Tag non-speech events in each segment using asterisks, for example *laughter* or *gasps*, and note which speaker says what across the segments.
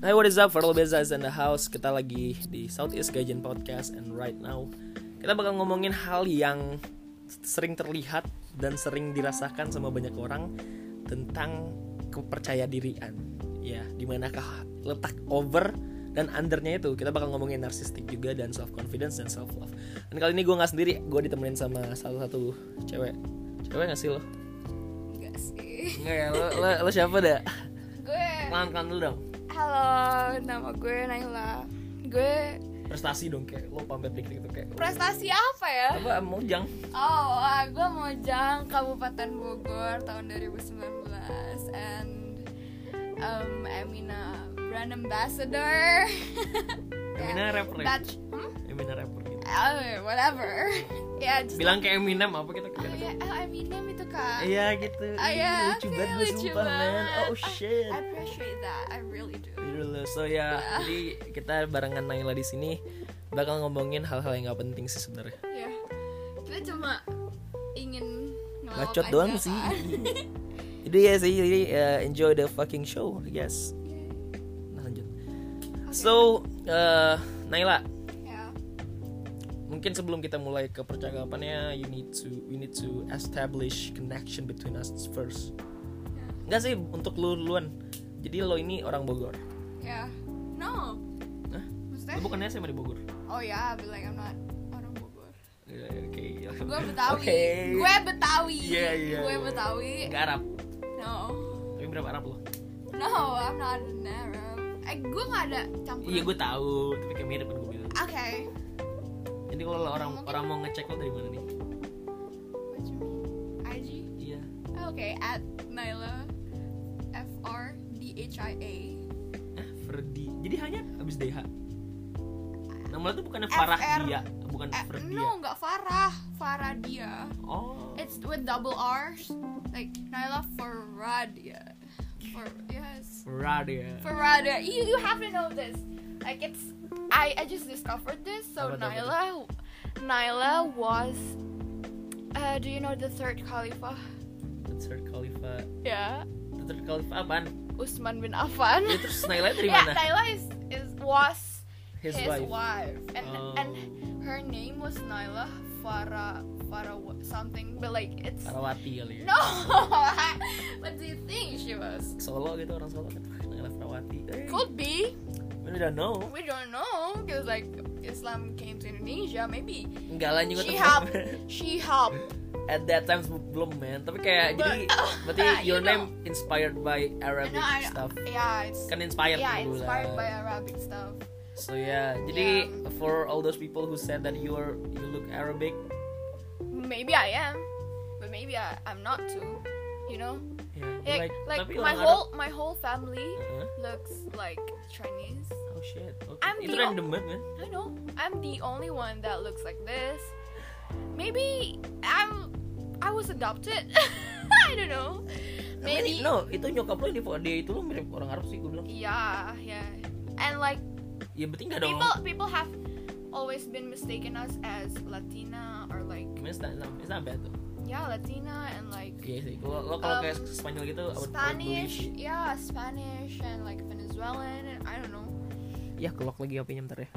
Speaker 1: Hai what is up for all Bezas in the house Kita lagi di Southeast Gaijin Podcast And right now Kita bakal ngomongin hal yang Sering terlihat dan sering dirasakan sama banyak orang Tentang kepercaya dirian Ya dimanakah letak over dan undernya itu kita bakal ngomongin narsistik juga dan self confidence dan self love dan kali ini gue nggak sendiri gue ditemenin sama salah satu cewek cewek nggak sih lo
Speaker 2: Enggak sih.
Speaker 1: nggak ya lo, lo, lo siapa dah
Speaker 2: Gue
Speaker 1: kenalan kenalan dulu dong
Speaker 2: halo, nama gue Naila. Gue
Speaker 1: prestasi dong kayak lo pamer dikit itu kayak
Speaker 2: prestasi apa ya?
Speaker 1: apa mojang
Speaker 2: Oh, ah, gue Mojang Kabupaten Bogor tahun 2019 and um, I'm in a brand ambassador.
Speaker 1: *laughs* Eminem rapper ya?
Speaker 2: That's hmm?
Speaker 1: Eminem rapper gitu.
Speaker 2: Oh, whatever. *laughs* yeah, just
Speaker 1: Bilang kayak Eminem apa kita
Speaker 2: Oh,
Speaker 1: kira
Speaker 2: yeah. oh, Eminem itu kak.
Speaker 1: Iya gitu.
Speaker 2: Oh, yeah.
Speaker 1: Lucu
Speaker 2: Kayak
Speaker 1: banget lu
Speaker 2: lucu
Speaker 1: sumpah man.
Speaker 2: banget.
Speaker 1: Oh shit.
Speaker 2: I appreciate that. I really do.
Speaker 1: Dulu so ya, jadi kita barengan Naila di sini bakal ngomongin hal-hal yang nggak penting sih sebenarnya.
Speaker 2: ya kita cuma ingin ngelawak
Speaker 1: Bacot
Speaker 2: aja,
Speaker 1: doang
Speaker 2: kan?
Speaker 1: sih.
Speaker 2: *laughs*
Speaker 1: Jadi ya sih, jadi uh, enjoy the fucking show, I guess. Nah, lanjut. So, uh, Naila,
Speaker 2: ya
Speaker 1: mungkin sebelum kita mulai ke percakapannya you need to we need to establish connection between us first
Speaker 2: Ya.
Speaker 1: enggak sih untuk lu duluan jadi lo ini orang Bogor
Speaker 2: ya no
Speaker 1: Hah?
Speaker 2: maksudnya
Speaker 1: lo bukannya SMA di Bogor
Speaker 2: oh ya I'll be like I'm not orang Bogor
Speaker 1: Ya, oke *laughs*
Speaker 2: gue Betawi
Speaker 1: Oke.
Speaker 2: gue Betawi
Speaker 1: Iya, iya,
Speaker 2: gue
Speaker 1: iya.
Speaker 2: Betawi
Speaker 1: Nggak Arab
Speaker 2: no
Speaker 1: tapi berapa Arab lo
Speaker 2: no I'm not an Arab eh gue gak ada campuran
Speaker 1: iya gue tahu tapi kayak mirip kan gue bilang
Speaker 2: oke
Speaker 1: jadi kalau lo orang orang mau ngecek lo dari mana nih
Speaker 2: what you mean IG
Speaker 1: iya
Speaker 2: oke at Naila F R D H I A
Speaker 1: ah Ferdi jadi hanya abis DH nama lo tuh bukan
Speaker 2: FR.
Speaker 1: Farah dia bukan
Speaker 2: eh,
Speaker 1: Ferdia
Speaker 2: no Eh, nggak Farah Faradia
Speaker 1: oh
Speaker 2: It's with double R's. Like Nyla Faradia. For yes.
Speaker 1: Radia
Speaker 2: Faradia. You you have to know this. Like it's I I just discovered this. So
Speaker 1: Apa tuh, apa tuh?
Speaker 2: Nyla Nyla was uh, do you know the third Khalifa?
Speaker 1: the third Khalifa
Speaker 2: Yeah.
Speaker 1: the third Khalifa apaan
Speaker 2: Usman bin Affan.
Speaker 1: Ya terus Naila dari
Speaker 2: yeah,
Speaker 1: mana?
Speaker 2: Nyla is, is was
Speaker 1: His,
Speaker 2: his,
Speaker 1: wife.
Speaker 2: wife. And
Speaker 1: Oh.
Speaker 2: and her name was Nyla Farah Farah something, but like it's
Speaker 1: Sarawati kali ya.
Speaker 2: No! *laughs* what do you think she was?
Speaker 1: Solo gitu orang Solo kan Naila Sarawati. Eh,
Speaker 2: Could be.
Speaker 1: We don't know.
Speaker 2: We don't know. Because, like, Islam came to Indonesia. Maybe
Speaker 1: Enggak lah juga
Speaker 2: she helped.
Speaker 1: *laughs*
Speaker 2: She helped.
Speaker 1: At that time belum man. Tapi kayak jadi
Speaker 2: But- *laughs*
Speaker 1: berarti your
Speaker 2: Ah, You know.
Speaker 1: name inspired by Arabic
Speaker 2: No, I-
Speaker 1: stuff.
Speaker 2: Yeah, it's.
Speaker 1: Kan inspired
Speaker 2: Yeah,
Speaker 1: dulu
Speaker 2: inspired by
Speaker 1: lah.
Speaker 2: Arabic stuff.
Speaker 1: So yeah, jadi
Speaker 2: Yeah.
Speaker 1: for all those people who said that you are you look Arabic,
Speaker 2: Maybe I am. But maybe I, I'm not too. You know?
Speaker 1: yeah,
Speaker 2: Like, like,
Speaker 1: tapi
Speaker 2: my
Speaker 1: orang
Speaker 2: whole my whole family
Speaker 1: Arab- Huh?
Speaker 2: looks like Chinese.
Speaker 1: Oh shit. Okay.
Speaker 2: I'm
Speaker 1: Itu
Speaker 2: the-
Speaker 1: random banget man.
Speaker 2: I know. I'm the only one that looks like this. Maybe I'm. I was adopted. *laughs* I don't know. Maybe.
Speaker 1: No, itu nyokap lo di dia itu lo mirip orang Arab sih gue bilang.
Speaker 2: Yeah, yeah. And like
Speaker 1: Ya berarti enggak dong.
Speaker 2: people, people have always been mistaken us as Latina or like
Speaker 1: Gimana it's not, it's not bad though.
Speaker 2: yeah, Latina and like
Speaker 1: Iya sih, kalau lo kalau
Speaker 2: Um,
Speaker 1: kayak Spanyol gitu, I would- I would
Speaker 2: Spanish.
Speaker 1: believe
Speaker 2: Yeah, Spanish and like Venezuelan and I don't know.
Speaker 1: it. Ya kelok lagi apinya bentar *laughs* ya.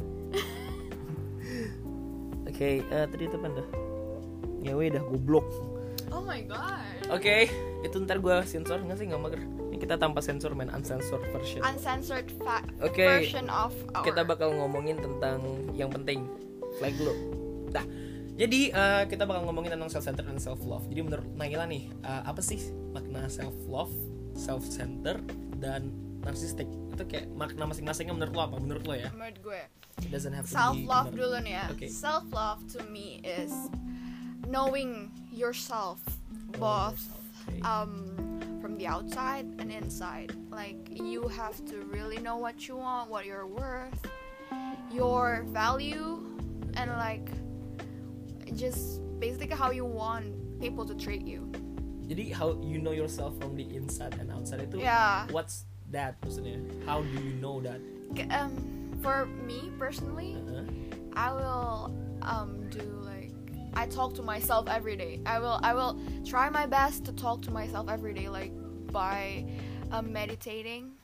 Speaker 1: Oke, eh, tadi itu apa dah? Ngewe dah goblok.
Speaker 2: Oh my god.
Speaker 1: Oke, itu ntar gue sensor nggak sih nggak mager. Ini kita tanpa sensor main uncensored version.
Speaker 2: Uncensored fa-
Speaker 1: Oke.
Speaker 2: version of our.
Speaker 1: kita bakal ngomongin tentang yang penting flag lo. Nah, jadi eh, kita bakal ngomongin tentang self center dan self love. Jadi menurut Naila nih, eh, apa sih makna self love, self center dan narsistik? Itu kayak makna masing-masingnya menurut lo apa? Menurut lo ya?
Speaker 2: Menurut gue.
Speaker 1: It doesn't have to
Speaker 2: self
Speaker 1: be
Speaker 2: love
Speaker 1: benar.
Speaker 2: dulu nih ya.
Speaker 1: Okay.
Speaker 2: Self love to me is knowing yourself
Speaker 1: Knowing
Speaker 2: both
Speaker 1: yourself, okay.
Speaker 2: um from the outside and inside. Like you have to really know what you want, what you're worth, your value and like just basically how you want people to treat you.
Speaker 1: Jadi how you know yourself from the inside and outside itu
Speaker 2: Yeah.
Speaker 1: what's that maksudnya? How do you know that?
Speaker 2: K- Um for me personally,
Speaker 1: Uh-huh.
Speaker 2: I will um do like I talk to myself every day. I will I will try my best to talk to myself every day like by um, meditating.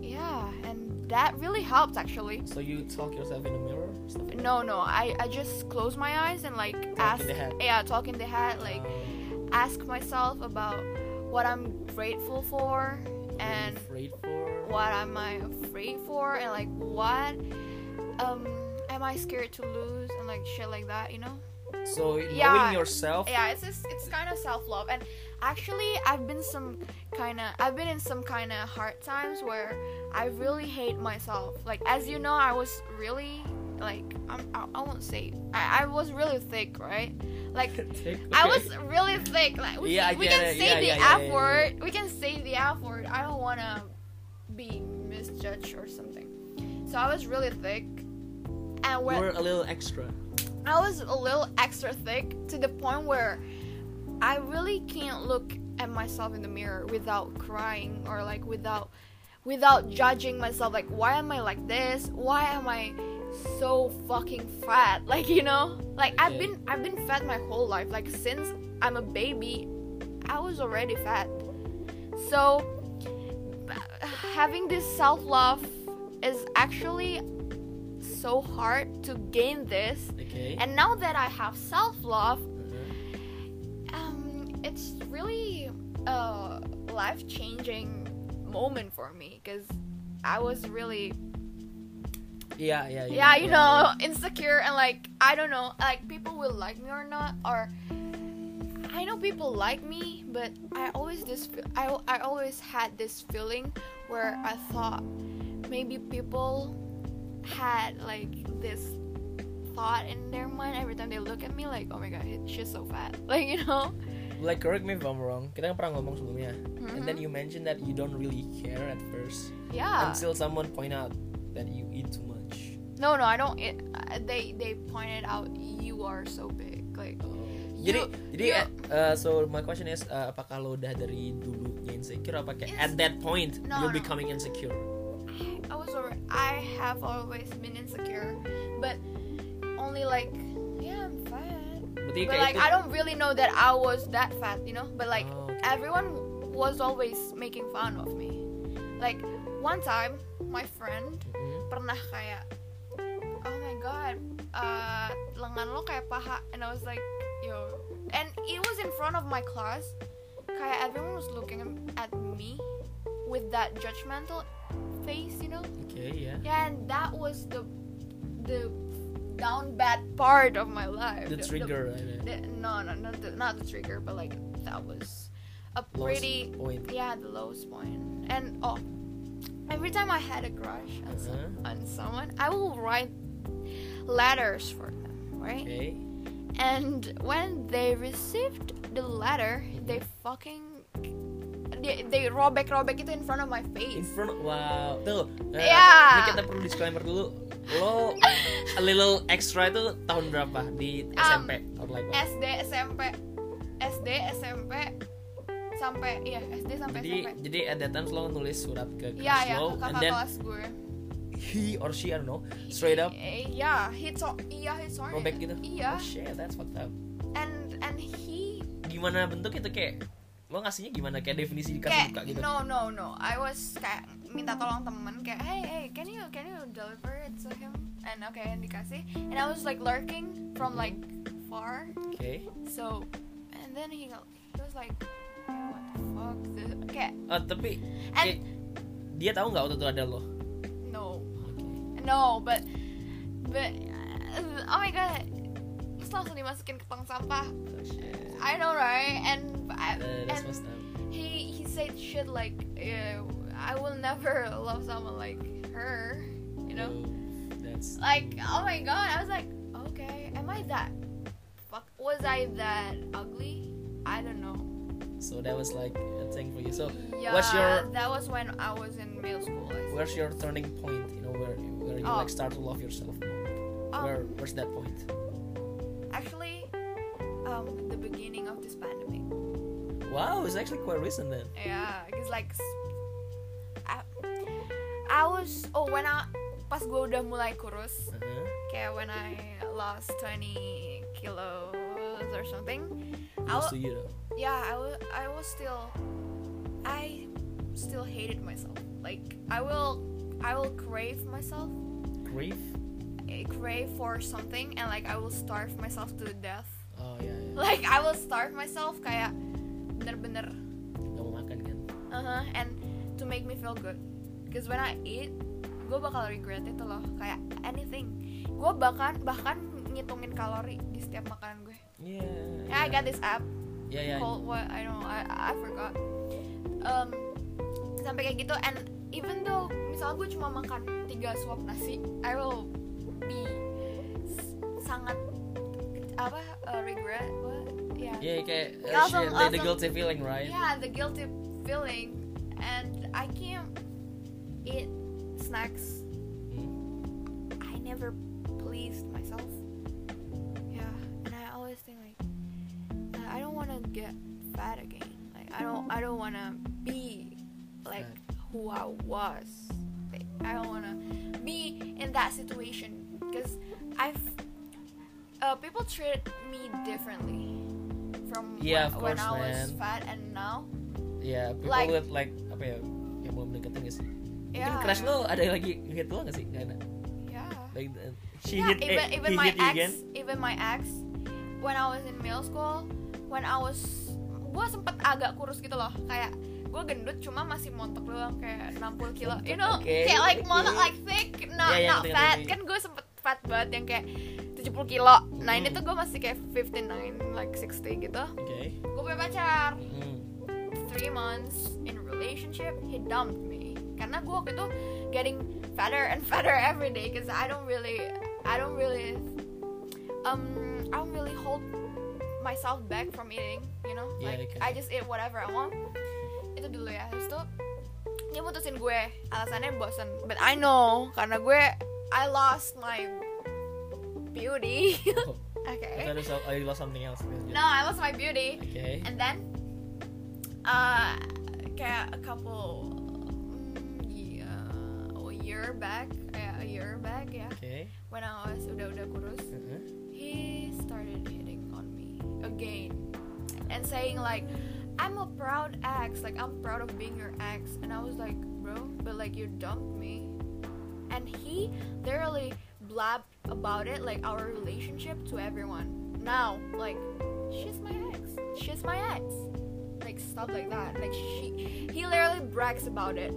Speaker 2: Yeah, and that really helped actually.
Speaker 1: So you talk yourself in the mirror? or Stuff like
Speaker 2: No, no, I, I just close my eyes and like ask,
Speaker 1: in the head.
Speaker 2: yeah, talk in the head, like ask myself about what I'm grateful for
Speaker 1: that?
Speaker 2: and
Speaker 1: You're afraid for?
Speaker 2: what am I afraid for and like what um am I scared to lose and like shit like that, you know?
Speaker 1: So
Speaker 2: Yeah.
Speaker 1: knowing yourself.
Speaker 2: Yeah, it's just it's kind of self love and actually I've been some kind of I've been in some kind of hard times where I really hate myself. Like as you know, I was really like I'm, I I won't say I, I was really thick, right? Like
Speaker 1: *laughs* Take- *laughs* okay.
Speaker 2: I was really thick. Like we,
Speaker 1: Yeah, I
Speaker 2: can- we
Speaker 1: get
Speaker 2: can
Speaker 1: it.
Speaker 2: say
Speaker 1: Yeah,
Speaker 2: the
Speaker 1: yeah, yeah,
Speaker 2: F
Speaker 1: yeah, yeah.
Speaker 2: word. We can say the F word. I don't wanna be misjudged or something. So I was really thick, and
Speaker 1: You
Speaker 2: when
Speaker 1: were a little extra.
Speaker 2: I was a little extra thick to the point where I really can't look at myself in the mirror without crying or like without without judging myself like why am I like this? Why am I so fucking fat? *laughs* Like you know? Like I've
Speaker 1: Okay.
Speaker 2: been I've been fat my whole life. Like since I'm a baby, I was already fat. So having this self-love is actually so hard to gain this
Speaker 1: Okay.
Speaker 2: and now that I have self love,
Speaker 1: Uh-huh.
Speaker 2: um, it's really a life changing moment for me because I was really,
Speaker 1: Yeah, yeah, yeah.
Speaker 2: yeah, you know, insecure and like, I don't know, like people will like me or not, or I know people like me, but I always this, I, I always had this feeling where I thought maybe people had like this thought in their mind every time they look at me like oh my god she's so fat *laughs* like you know
Speaker 1: Like correct me if I'm wrong. Kita kan pernah ngomong sebelumnya. And then
Speaker 2: Mhm.
Speaker 1: you mentioned that you don't really care at first
Speaker 2: Mm-hmm. yeah
Speaker 1: until someone point out that you eat too much.
Speaker 2: no no i don't it, uh, they they pointed out you are so big like
Speaker 1: gitu. Jadi,
Speaker 2: You-
Speaker 1: jadi
Speaker 2: you-
Speaker 1: eh, uh, so my question is, uh, apakah lo udah dari dulunya insecure, apa kayak
Speaker 2: Yes.
Speaker 1: at that point
Speaker 2: No,
Speaker 1: you're
Speaker 2: no.
Speaker 1: becoming insecure?
Speaker 2: I, I was alre i have always been insecure but only like yeah i'm fat
Speaker 1: Berarti
Speaker 2: but
Speaker 1: kayak
Speaker 2: like
Speaker 1: itu. ya?
Speaker 2: i don't really know that i was that fat you know but like
Speaker 1: Oh, okay.
Speaker 2: everyone was always making fun of me like one time my friend
Speaker 1: Mhm.
Speaker 2: pernah kayak oh my god uh, lengan lo kayak paha and I was like yo and it was in front of my class kayak everyone was looking at me with that judgmental face you know
Speaker 1: Okay, yeah.
Speaker 2: yeah and that was the the down bad part of my life
Speaker 1: The trigger, right?
Speaker 2: the- no no not the, not the trigger but like that was a
Speaker 1: Lowest
Speaker 2: pretty
Speaker 1: point.
Speaker 2: yeah, the lowest point. And oh, every time I had a crush on, some-
Speaker 1: Uh-huh.
Speaker 2: on someone, I will write letters for them, right?
Speaker 1: Okay.
Speaker 2: And when they received the letter, they fucking they, they robek robek it in front of my
Speaker 1: In
Speaker 2: face.
Speaker 1: front, wow. Tuh. eh, Ini
Speaker 2: Yeah.
Speaker 1: kita perlu disclaimer dulu. Lo a little extra itu tahun berapa di
Speaker 2: Um,
Speaker 1: SMP or like what?
Speaker 2: SD, SMP, SD, SMP, sampai iya SD sampai
Speaker 1: Jadi,
Speaker 2: SMP.
Speaker 1: jadi at that time lo nulis surat ke kelas
Speaker 2: Ya ya
Speaker 1: lo,
Speaker 2: ke
Speaker 1: and
Speaker 2: kakak
Speaker 1: then
Speaker 2: kelas gue.
Speaker 1: he or she I don't know, straight up
Speaker 2: Eh, Iya, hits on, iya hits on.
Speaker 1: robek gitu. Oh
Speaker 2: Iya,
Speaker 1: shit, that's fucked up.
Speaker 2: and and he
Speaker 1: Gimana bentuk itu kayak lo ngasihnya gimana kayak definisi dikasih
Speaker 2: kayak
Speaker 1: buka gitu?
Speaker 2: no no no I was kayak minta tolong temen kayak hey hey can you can you deliver it to him and okay and dikasih and I was like lurking from like far
Speaker 1: Oke.
Speaker 2: so and then he go- he was like "Yeah, what the fuck this? kayak
Speaker 1: Oh, tapi kayak,
Speaker 2: and
Speaker 1: dia tahu nggak waktu itu ada lo?
Speaker 2: no
Speaker 1: Oke.
Speaker 2: no but but uh, oh my god terus langsung dimasukin ke tong sampah
Speaker 1: Oh, shit.
Speaker 2: I know right and I,
Speaker 1: Uh, that's
Speaker 2: and
Speaker 1: what's up.
Speaker 2: he he said shit like eh, I will never *laughs* love someone like her, you know.
Speaker 1: Oh, that's
Speaker 2: Like oh my god, I was like, okay, am I that? Fuck, was I that ugly? I don't know.
Speaker 1: so that was like a thing for you. So
Speaker 2: Yeah,
Speaker 1: what's your
Speaker 2: that was when I was in middle school. I think.
Speaker 1: where's your turning point? You know where where you
Speaker 2: Oh.
Speaker 1: like start to love yourself. more?
Speaker 2: Um,
Speaker 1: where where's that point?
Speaker 2: actually, um, the beginning of this pandemic.
Speaker 1: Wow, it's actually quite recent then.
Speaker 2: Yeah, cause like s- I, I was oh when I pas gue udah mulai kurus,
Speaker 1: Uh-huh.
Speaker 2: Okay, when I lost 20 kilos or something, I
Speaker 1: Close
Speaker 2: wa-
Speaker 1: to you though.
Speaker 2: yeah, I wa- I was still, I still hated myself. Like I will, I will crave myself,
Speaker 1: grief
Speaker 2: eh, crave for something, and like I will starve myself to death. *laughs*
Speaker 1: oh ya ya.
Speaker 2: Like I will starve myself, kayak bener-bener,
Speaker 1: nggak mau makan kan
Speaker 2: uh-huh, and to make me feel good. Because when I eat, gue bakal regret itu loh, kayak anything. Gue bahkan bahkan ngitungin kalori di setiap makanan gue.
Speaker 1: iya
Speaker 2: Yeah, I got this app
Speaker 1: ya ya
Speaker 2: called what I don't know, I I forgot. Um, sampai kayak gitu and even though misal gue cuma makan tiga suap nasi, I will be s- sangat apa uh, regret what? Yeah.
Speaker 1: ya kayak uh,
Speaker 2: Langsung-
Speaker 1: shit, the- the
Speaker 2: langsung.
Speaker 1: guilty feeling right
Speaker 2: Yeah, the guilty feeling and I can't eat snacks.
Speaker 1: Hmm.
Speaker 2: I never pleased myself. Yeah, and I always think like "Nah, I don't want to get fat again. Like I don't I don't want to be like who I was. Like, I don't want to be in that situation because I've uh, people treat me differently from
Speaker 1: Yeah,
Speaker 2: when,
Speaker 1: of
Speaker 2: when
Speaker 1: course,
Speaker 2: I was
Speaker 1: man.
Speaker 2: fat and now.
Speaker 1: ya people
Speaker 2: Like- Ya.
Speaker 1: with like apa ya yang belum deketin gak sih mungkin
Speaker 2: Yeah.
Speaker 1: crush lo ada yang lagi hit lo gak sih gak ada
Speaker 2: Yeah.
Speaker 1: like uh, she
Speaker 2: Yeah,
Speaker 1: hit eh,
Speaker 2: Nah, even, even
Speaker 1: he
Speaker 2: my
Speaker 1: hit you
Speaker 2: ex,
Speaker 1: again
Speaker 2: even my ex, when I was in middle school, when I was, gue sempet agak kurus gitu loh, kayak gue gendut cuma masih montok doang kayak 60 kilo, you know,
Speaker 1: Oke, Iya,
Speaker 2: kayak like
Speaker 1: oke.
Speaker 2: montok like thick, not
Speaker 1: Ya, ya,
Speaker 2: not
Speaker 1: ngerti,
Speaker 2: fat,
Speaker 1: ngerti.
Speaker 2: kan gue sempet fat banget yang kayak 70 kilo, nah
Speaker 1: Hmm.
Speaker 2: ini tuh gue masih kayak 59 like 60 gitu,
Speaker 1: oke
Speaker 2: gue punya pacar,
Speaker 1: Hmm.
Speaker 2: three months in relationship, he dumped me. Karena gue waktu itu getting fatter and fatter every day, cause I don't really, I don't really, um, I don't really hold myself back from eating, you know,
Speaker 1: Yeah,
Speaker 2: like
Speaker 1: okay.
Speaker 2: I just eat whatever I want. Itu dulu ya, habis itu dia mutusin gue, alasannya bosen. But I know, karena gue, I lost my beauty. *laughs*
Speaker 1: Oh, I
Speaker 2: okay.
Speaker 1: thought it was- I lost something else
Speaker 2: No, I lost my beauty.
Speaker 1: okay
Speaker 2: And then, uh, kayak a couple, mm, yeah, a year back, yeah, a year back, yeah,
Speaker 1: okay
Speaker 2: when I was udah-udah kurus,
Speaker 1: Uh-huh.
Speaker 2: he started hitting on me again and saying like, I'm a proud ex, like I'm proud of being your ex, and I was like, bro, but like you dumped me, and he literally blabbed about it like our relationship to everyone. Now, like, she's my ex, she's my ex like stuff like that. Like she, he literally brags about it.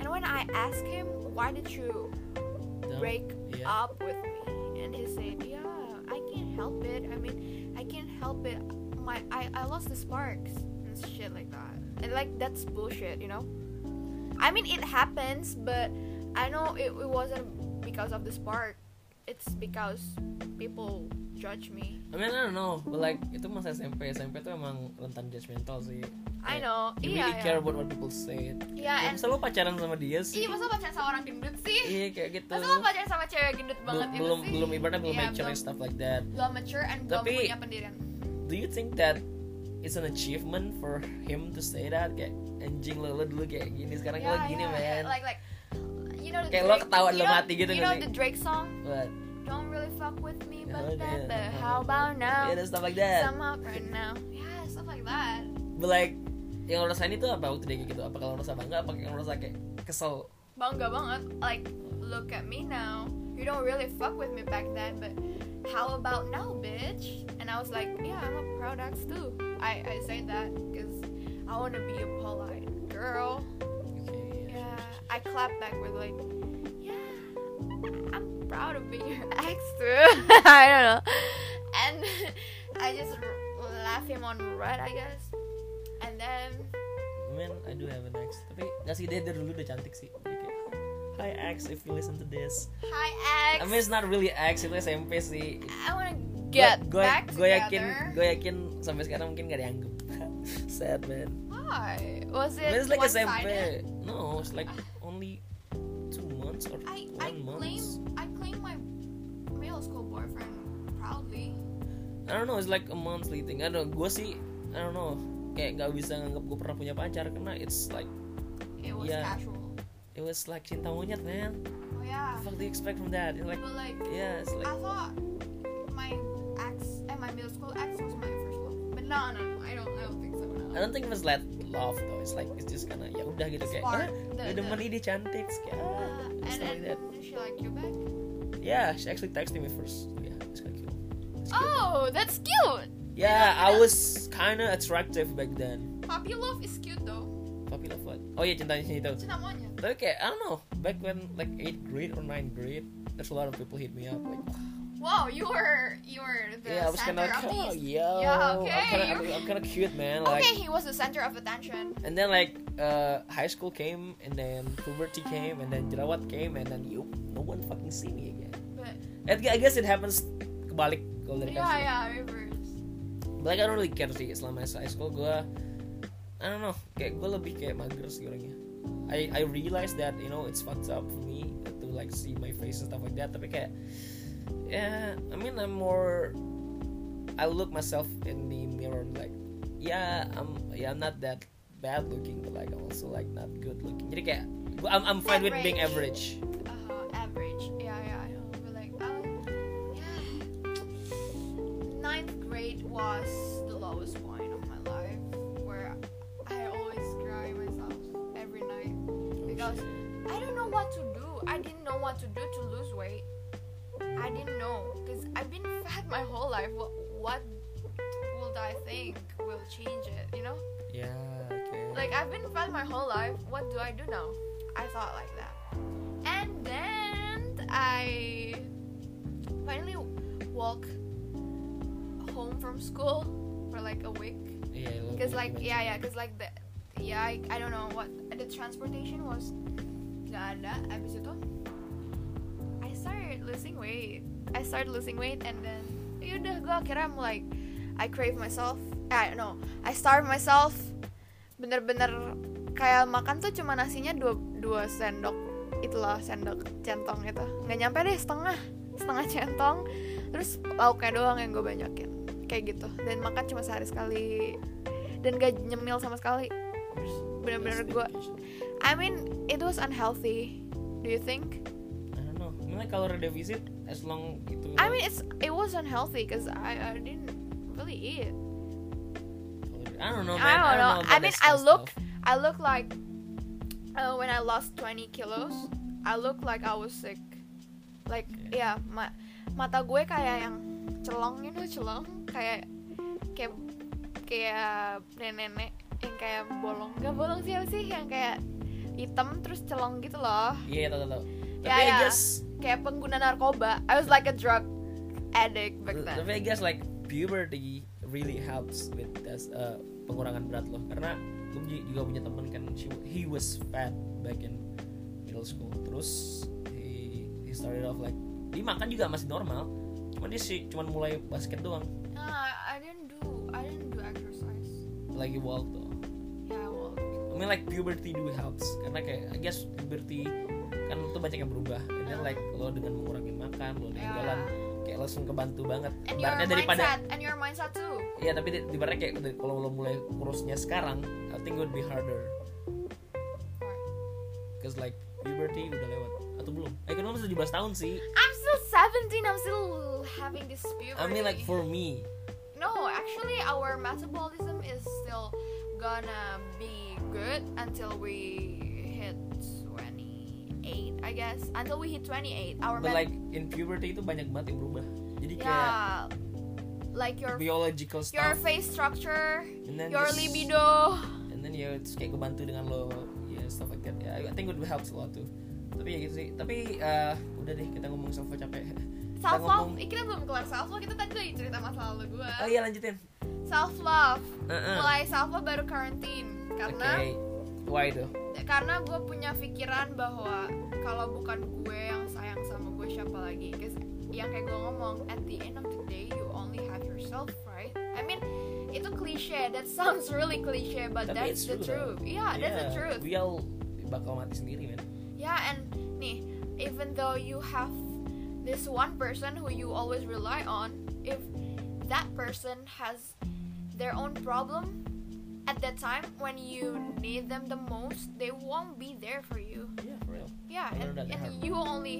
Speaker 2: And when I ask him, why did you
Speaker 1: Dumb.
Speaker 2: break
Speaker 1: yeah.
Speaker 2: up with me? And he said, yeah, I can't help it. I mean, I can't help it. My, I, I lost the sparks and shit like that. And like that's bullshit, you know. I mean, it happens, but I know it, it wasn't because of the spark. It's because people judge me.
Speaker 1: I mean I don't know, but like itu masa SMP SMP tuh emang rentan judgmental sih.
Speaker 2: I
Speaker 1: Kayak,
Speaker 2: know.
Speaker 1: You
Speaker 2: iya,
Speaker 1: really care
Speaker 2: iya.
Speaker 1: about what people say.
Speaker 2: Iya,
Speaker 1: Ya,
Speaker 2: and
Speaker 1: masa lu pacaran sama dia sih?
Speaker 2: Ih, masa pacaran sama orang gendut sih?
Speaker 1: Iya kayak gitu.
Speaker 2: Masa lo pacaran sama cewek gendut
Speaker 1: Bel-
Speaker 2: banget itu
Speaker 1: belum
Speaker 2: sih?
Speaker 1: belum ibaratnya belum
Speaker 2: Iya,
Speaker 1: mature and
Speaker 2: belum-
Speaker 1: stuff like that.
Speaker 2: Belum mature and belum
Speaker 1: Tapi-
Speaker 2: punya pendirian.
Speaker 1: Do you think that it's an achievement for him to say that kayak anjing lo, lo dulu kayak gini sekarang lo
Speaker 2: Yeah,
Speaker 1: gini
Speaker 2: yeah,
Speaker 1: man.
Speaker 2: yeah. Like like you know the
Speaker 1: Kayak lo
Speaker 2: Drake-
Speaker 1: ketawa
Speaker 2: you
Speaker 1: dalam
Speaker 2: know-
Speaker 1: hati gitu
Speaker 2: You
Speaker 1: nggak
Speaker 2: know
Speaker 1: sih?
Speaker 2: the Drake song
Speaker 1: But
Speaker 2: Don't really fuck with me
Speaker 1: Yeah,
Speaker 2: but
Speaker 1: like
Speaker 2: then
Speaker 1: that.
Speaker 2: the how about now
Speaker 1: yeah, and stuff like that.
Speaker 2: Some up right now Yeah stuff like that
Speaker 1: But like yang lo rasain itu apa waktu dia kayak gitu? Apa kalau lo rasa bangga? Apa yang lo rasa kayak kesel?
Speaker 2: Bangga banget Like look at me now You don't really fuck with me back then but How about now bitch And I was like yeah I'm a proud ex too I, I say that because I want to be a polite girl
Speaker 1: Okay,
Speaker 2: Yeah, I clap back with like, yeah, I'm proud of being your ex too. *laughs* I don't know, and *laughs* I just r- laugh him on red, I guess. And then
Speaker 1: I mean, I do have an ex. Tapi gak sih dia, dia dulu udah cantik sih. Dia kayak, Hi ex, if you listen to this.
Speaker 2: hi ex,
Speaker 1: I mean, it's not really ex, itu SMP sih.
Speaker 2: I wanna get
Speaker 1: gue,
Speaker 2: back
Speaker 1: gue yakin,
Speaker 2: together.
Speaker 1: gue yakin sampai sekarang mungkin gak dianggap. *laughs* Sad man.
Speaker 2: Why was
Speaker 1: I
Speaker 2: it?
Speaker 1: mean, it's like
Speaker 2: one-sided?
Speaker 1: SMP. No, it's like only two months or
Speaker 2: I
Speaker 1: one
Speaker 2: I claim
Speaker 1: month.
Speaker 2: I claim my middle school boyfriend proudly.
Speaker 1: I don't know, it's like a monthly thing. I don't know, gue sih, I don't know. Kayak gak bisa nganggap gue pernah punya pacar karena it's like
Speaker 2: It was
Speaker 1: Yeah.
Speaker 2: casual.
Speaker 1: it was like cinta monyet man.
Speaker 2: Oh yeah,
Speaker 1: What the fuck do you expect from that? It's like
Speaker 2: but like.
Speaker 1: yeah, it's
Speaker 2: I
Speaker 1: like
Speaker 2: thought my ex and my middle school ex was my first love, but no, no, no, I don't, I don't think so.
Speaker 1: I
Speaker 2: No.
Speaker 1: don't think it was like love though it's like it's just gonna ya udah gitu kayak
Speaker 2: Spark,
Speaker 1: ah,
Speaker 2: the-
Speaker 1: gue demen ini cantik Terus kayak
Speaker 2: Uh,
Speaker 1: ah,
Speaker 2: and
Speaker 1: stuff like
Speaker 2: then
Speaker 1: that
Speaker 2: she liked you back.
Speaker 1: yeah she actually texted me first yeah it's kinda cute It's cute.
Speaker 2: Oh, that's cute.
Speaker 1: yeah
Speaker 2: yeah.
Speaker 1: I was kinda attractive back then
Speaker 2: Puppy love is cute though.
Speaker 1: tapi love what oh iya cintanya sini tuh
Speaker 2: Itu namanya.
Speaker 1: Tapi kayak I don't know, back when like 8th grade or 9th grade, there's a lot of people hit me up like,
Speaker 2: Wow, you were you were the
Speaker 1: yeah, I was kind
Speaker 2: center
Speaker 1: of like, oh,
Speaker 2: of these.
Speaker 1: yo,
Speaker 2: Yeah,
Speaker 1: I'm kind
Speaker 2: okay, you're-
Speaker 1: of I'm, kind of cute, man. Like,
Speaker 2: Okay, he was the center of attention.
Speaker 1: and then like uh, high school came, and then puberty came, and then jerawat came, and then you, no one fucking see me again.
Speaker 2: But
Speaker 1: And I guess it happens kebalik kalau dari
Speaker 2: yeah,
Speaker 1: kamu.
Speaker 2: yeah, reverse.
Speaker 1: But like I don't really care sih selama high school gue, I don't know, kayak gue lebih kayak mager sih orangnya. I I realize that you know it's fucked up for me to like see my face and stuff like that. Tapi kayak, yeah, I mean I'm more, I look myself in the mirror and like, yeah I'm yeah I'm not that bad looking, but like I'm also like not good looking. Jadi kayak gua- I'm I'm fine with being average.
Speaker 2: uh, average. Yeah, yeah, I know. But like, um, yeah. Ninth grade was the lowest point of my life, where I always cry myself every night because I don't know what to do. I didn't know what to do to lose weight. I didn't know because I've been fat my whole life. What, what would I think will change it? You know.
Speaker 1: Yeah, okay.
Speaker 2: Like I've been fat my whole life. What do I do now? I thought like that. And then I finally walk home from school for like a week.
Speaker 1: yeah, I love
Speaker 2: Cause
Speaker 1: you,
Speaker 2: like
Speaker 1: man.
Speaker 2: yeah yeah. Cause like the yeah I, I don't know what the transportation was. Nggak ada. Abis itu I started losing weight. I started losing weight and then yaudah gue akhirnya I'm like I crave myself. I no, I starve myself. Bener-bener kayak makan tuh cuma nasinya dua, dua sendok itulah sendok centong itu nggak nyampe deh setengah setengah centong terus lauknya doang yang gue banyakin kayak gitu dan makan cuma sehari sekali dan gak nyemil sama sekali bener-bener
Speaker 1: That's
Speaker 2: gue
Speaker 1: dedication.
Speaker 2: I mean it was unhealthy do you think
Speaker 1: I don't know. I mean, like kalori deficit as long gitu. itu.
Speaker 2: I mean it's it was unhealthy because I, I didn't really eat
Speaker 1: I don't know, man.
Speaker 2: I don't know.
Speaker 1: about
Speaker 2: I mean,
Speaker 1: this
Speaker 2: I
Speaker 1: kind of
Speaker 2: look,
Speaker 1: stuff.
Speaker 2: I look like uh, when I lost 20 kilos, I look like I was sick. Like, yeah, ma- mata gue kayak yang celong itu celong, kayak kayak kayak nenek-nenek yang kayak bolong, gak bolong sih apa sih yang kayak hitam terus celong gitu loh,
Speaker 1: Iya, yeah, tau tau tau.
Speaker 2: Ya,
Speaker 1: Tapi I
Speaker 2: ya.
Speaker 1: guess,
Speaker 2: kayak pengguna narkoba. I was like a drug addict back then.
Speaker 1: tapi I guess like puberty really helps with this, uh, pengurangan berat loh. Karena gue ju- juga punya temen kan, she, he was fat back in middle school. Terus he, he started off like dia makan juga masih normal. Cuman dia sih cuman mulai basket doang.
Speaker 2: Nah, I didn't do, I didn't do exercise.
Speaker 1: Lagi walk tuh.
Speaker 2: Yeah, I walked.
Speaker 1: I mean like puberty do helps karena kayak I guess puberty kan tuh banyak yang berubah and then like lo dengan mengurangi makan lo dengan
Speaker 2: Yeah.
Speaker 1: jalan kayak langsung kebantu banget
Speaker 2: And your
Speaker 1: ibaratnya daripada
Speaker 2: mindset, and your mindset too.
Speaker 1: ya tapi di- ibaratnya kayak dari- kalau lo mulai kurusnya sekarang I think it would be harder cause like puberty udah lewat atau belum eh kan lo masih 17 tahun sih
Speaker 2: I'm still 17. I'm still having this puberty.
Speaker 1: I mean like for me
Speaker 2: no, actually, our metabolism is still gonna be good until we hit 28, I guess. Until we hit 28, our
Speaker 1: but
Speaker 2: met-
Speaker 1: like in puberty itu banyak banget yang berubah jadi kayak
Speaker 2: yeah, like your
Speaker 1: biological stuff
Speaker 2: your face structure,
Speaker 1: and then
Speaker 2: your
Speaker 1: just-
Speaker 2: libido.
Speaker 1: and then ya it's kayak kebantu dengan lo ya stuff like that ya I think it would help a lot too tapi ya gitu sih tapi eh, udah deh kita ngomong sofa capek
Speaker 2: Eh. Self love,
Speaker 1: ngomong-
Speaker 2: kita belum kelar self love. Kita tadi udah cerita masa lalu gue.
Speaker 1: oh iya Ah. lanjutin
Speaker 2: Self love,
Speaker 1: Heeh.
Speaker 2: mulai self love baru quarantine
Speaker 1: oke
Speaker 2: karena.
Speaker 1: why tuh
Speaker 2: karena gue punya pikiran bahwa kalau bukan gue yang sayang sama gue siapa lagi Cause yang kayak gue ngomong at the end of the day you only have yourself right I mean itu cliche that sounds really cliche but
Speaker 1: Tapi
Speaker 2: that's
Speaker 1: it's
Speaker 2: the
Speaker 1: true,
Speaker 2: truth yeah, that's the
Speaker 1: Yeah,
Speaker 2: truth
Speaker 1: we all bakal mati sendiri men
Speaker 2: yeah and nih even though you have this one person who you always rely on if that person has their own problem at that time when you need them the most they won't be there for you
Speaker 1: yeah for real
Speaker 2: yeah
Speaker 1: Bener
Speaker 2: and,
Speaker 1: dan
Speaker 2: and
Speaker 1: hard.
Speaker 2: you only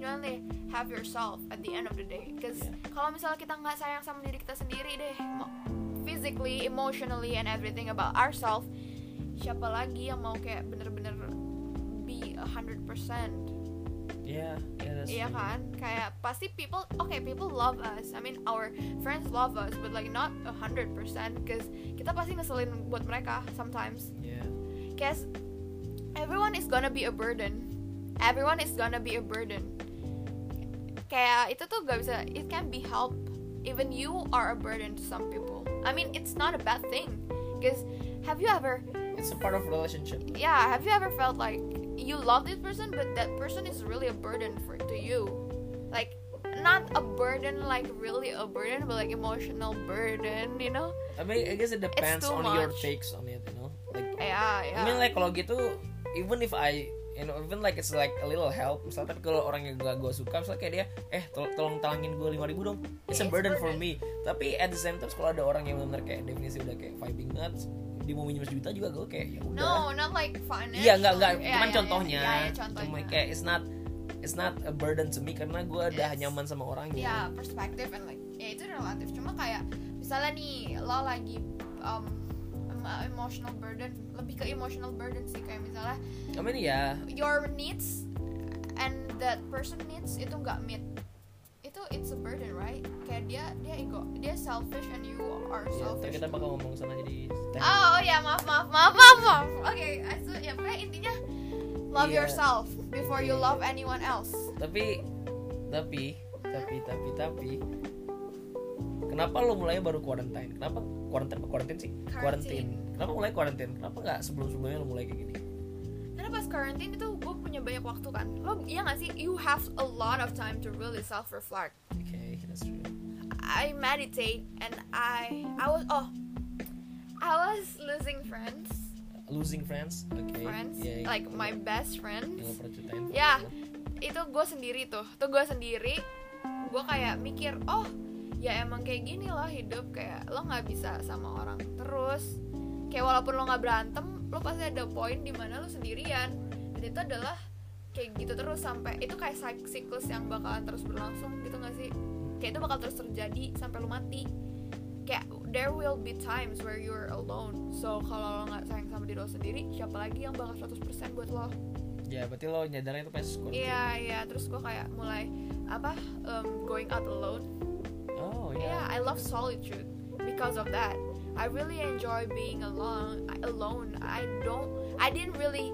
Speaker 2: you only have yourself at the end of the day because
Speaker 1: Yeah.
Speaker 2: kalau misalnya kita nggak sayang sama diri kita sendiri deh mo- physically emotionally and everything about ourselves siapa lagi yang mau kayak bener-bener be 100%
Speaker 1: yeah yeah that's
Speaker 2: Iya
Speaker 1: true.
Speaker 2: kan? Kayak pasti people, okay, people love us. I mean, our friends love us, but like not a hundred percent, because kita pasti ngeselin buat mereka sometimes.
Speaker 1: yeah
Speaker 2: Cause everyone is gonna be a burden. Everyone is gonna be a burden. Kayak itu tuh gak bisa. ah, It can be helped. Even you are a burden to some people. I mean, it's not a bad thing. Cause have you ever
Speaker 1: it's a part of relationship
Speaker 2: yeah have you ever felt like you love this person but that person is really a burden for to you like not a burden like really a burden but like emotional burden you know
Speaker 1: I mean I guess it depends
Speaker 2: too
Speaker 1: on your
Speaker 2: much.
Speaker 1: takes on it you know like
Speaker 2: yeah yeah
Speaker 1: I mean like kalau gitu even if I you know even like it's like a little help misalnya tapi kalau orang yang gak gue suka misalnya kayak dia eh tol- tolong talangin gue lima ribu dong it's a
Speaker 2: Iya, It's
Speaker 1: burden
Speaker 2: burden.
Speaker 1: for me tapi at the same time kalau ada orang yang benar kayak definisi udah kayak vibing nuts dia mau minjem sejuta juga gue kayak ya udah
Speaker 2: no not like financial
Speaker 1: iya nggak nggak
Speaker 2: Yeah,
Speaker 1: cuman
Speaker 2: yeah,
Speaker 1: contohnya
Speaker 2: yeah, yeah, Iya, contohnya
Speaker 1: cuma kayak it's not it's not a burden to me karena gue udah
Speaker 2: Yes.
Speaker 1: nyaman sama orangnya
Speaker 2: yeah perspective Ya, and like ya itu relatif cuma kayak misalnya nih lo lagi um, em- emotional burden lebih ke emotional burden sih kayak misalnya
Speaker 1: I mean ya
Speaker 2: your needs and that person needs itu nggak meet itu it's a burden right kayak dia dia ego dia selfish and you are
Speaker 1: ya, ntar
Speaker 2: selfish
Speaker 1: kita
Speaker 2: too.
Speaker 1: bakal ngomong sama jadi
Speaker 2: oh oh ya maaf maaf maaf maaf maaf oke I su- ya pokoknya intinya love
Speaker 1: Iya.
Speaker 2: yourself before you
Speaker 1: Iya.
Speaker 2: love anyone else
Speaker 1: tapi tapi tapi tapi tapi kenapa lo mulai baru quarantine kenapa quarantine apa quarantine sih quarantine
Speaker 2: Quarantine.
Speaker 1: kenapa mulai quarantine kenapa nggak sebelum sebelumnya lo mulai kayak gini
Speaker 2: karena pas quarantine itu gue punya banyak waktu kan lo iya nggak sih you have a lot of time to really self reflect
Speaker 1: oke that's true
Speaker 2: I meditate and I I was oh I was losing friends
Speaker 1: losing friends oke
Speaker 2: friends,
Speaker 1: yeah,
Speaker 2: like
Speaker 1: yeah.
Speaker 2: my
Speaker 1: yang
Speaker 2: best
Speaker 1: lo
Speaker 2: friends.
Speaker 1: pernah ceritain
Speaker 2: Ya, itu gue sendiri tuh, tuh gue sendiri, gue kayak mikir, oh ya emang kayak gini lah hidup kayak lo nggak bisa sama orang terus, kayak walaupun lo nggak berantem, lo pasti ada poin di mana lo sendirian, dan itu adalah kayak gitu terus sampai itu kayak sik- siklus yang bakalan terus berlangsung gitu gak sih? Kayak itu bakal terus terjadi sampai lo mati. Kayak there will be times where you're alone. So kalau lo nggak sayang sama diri lo sendiri, siapa lagi yang bakal 100% buat lo?
Speaker 1: ya berarti lo nyadarnya itu pas quarantine
Speaker 2: Iya iya terus gue kayak mulai apa um, going out alone. Iya.
Speaker 1: oh ya
Speaker 2: Yeah, I love solitude because of that. I really enjoy being alone. Alone. I don't. I didn't really.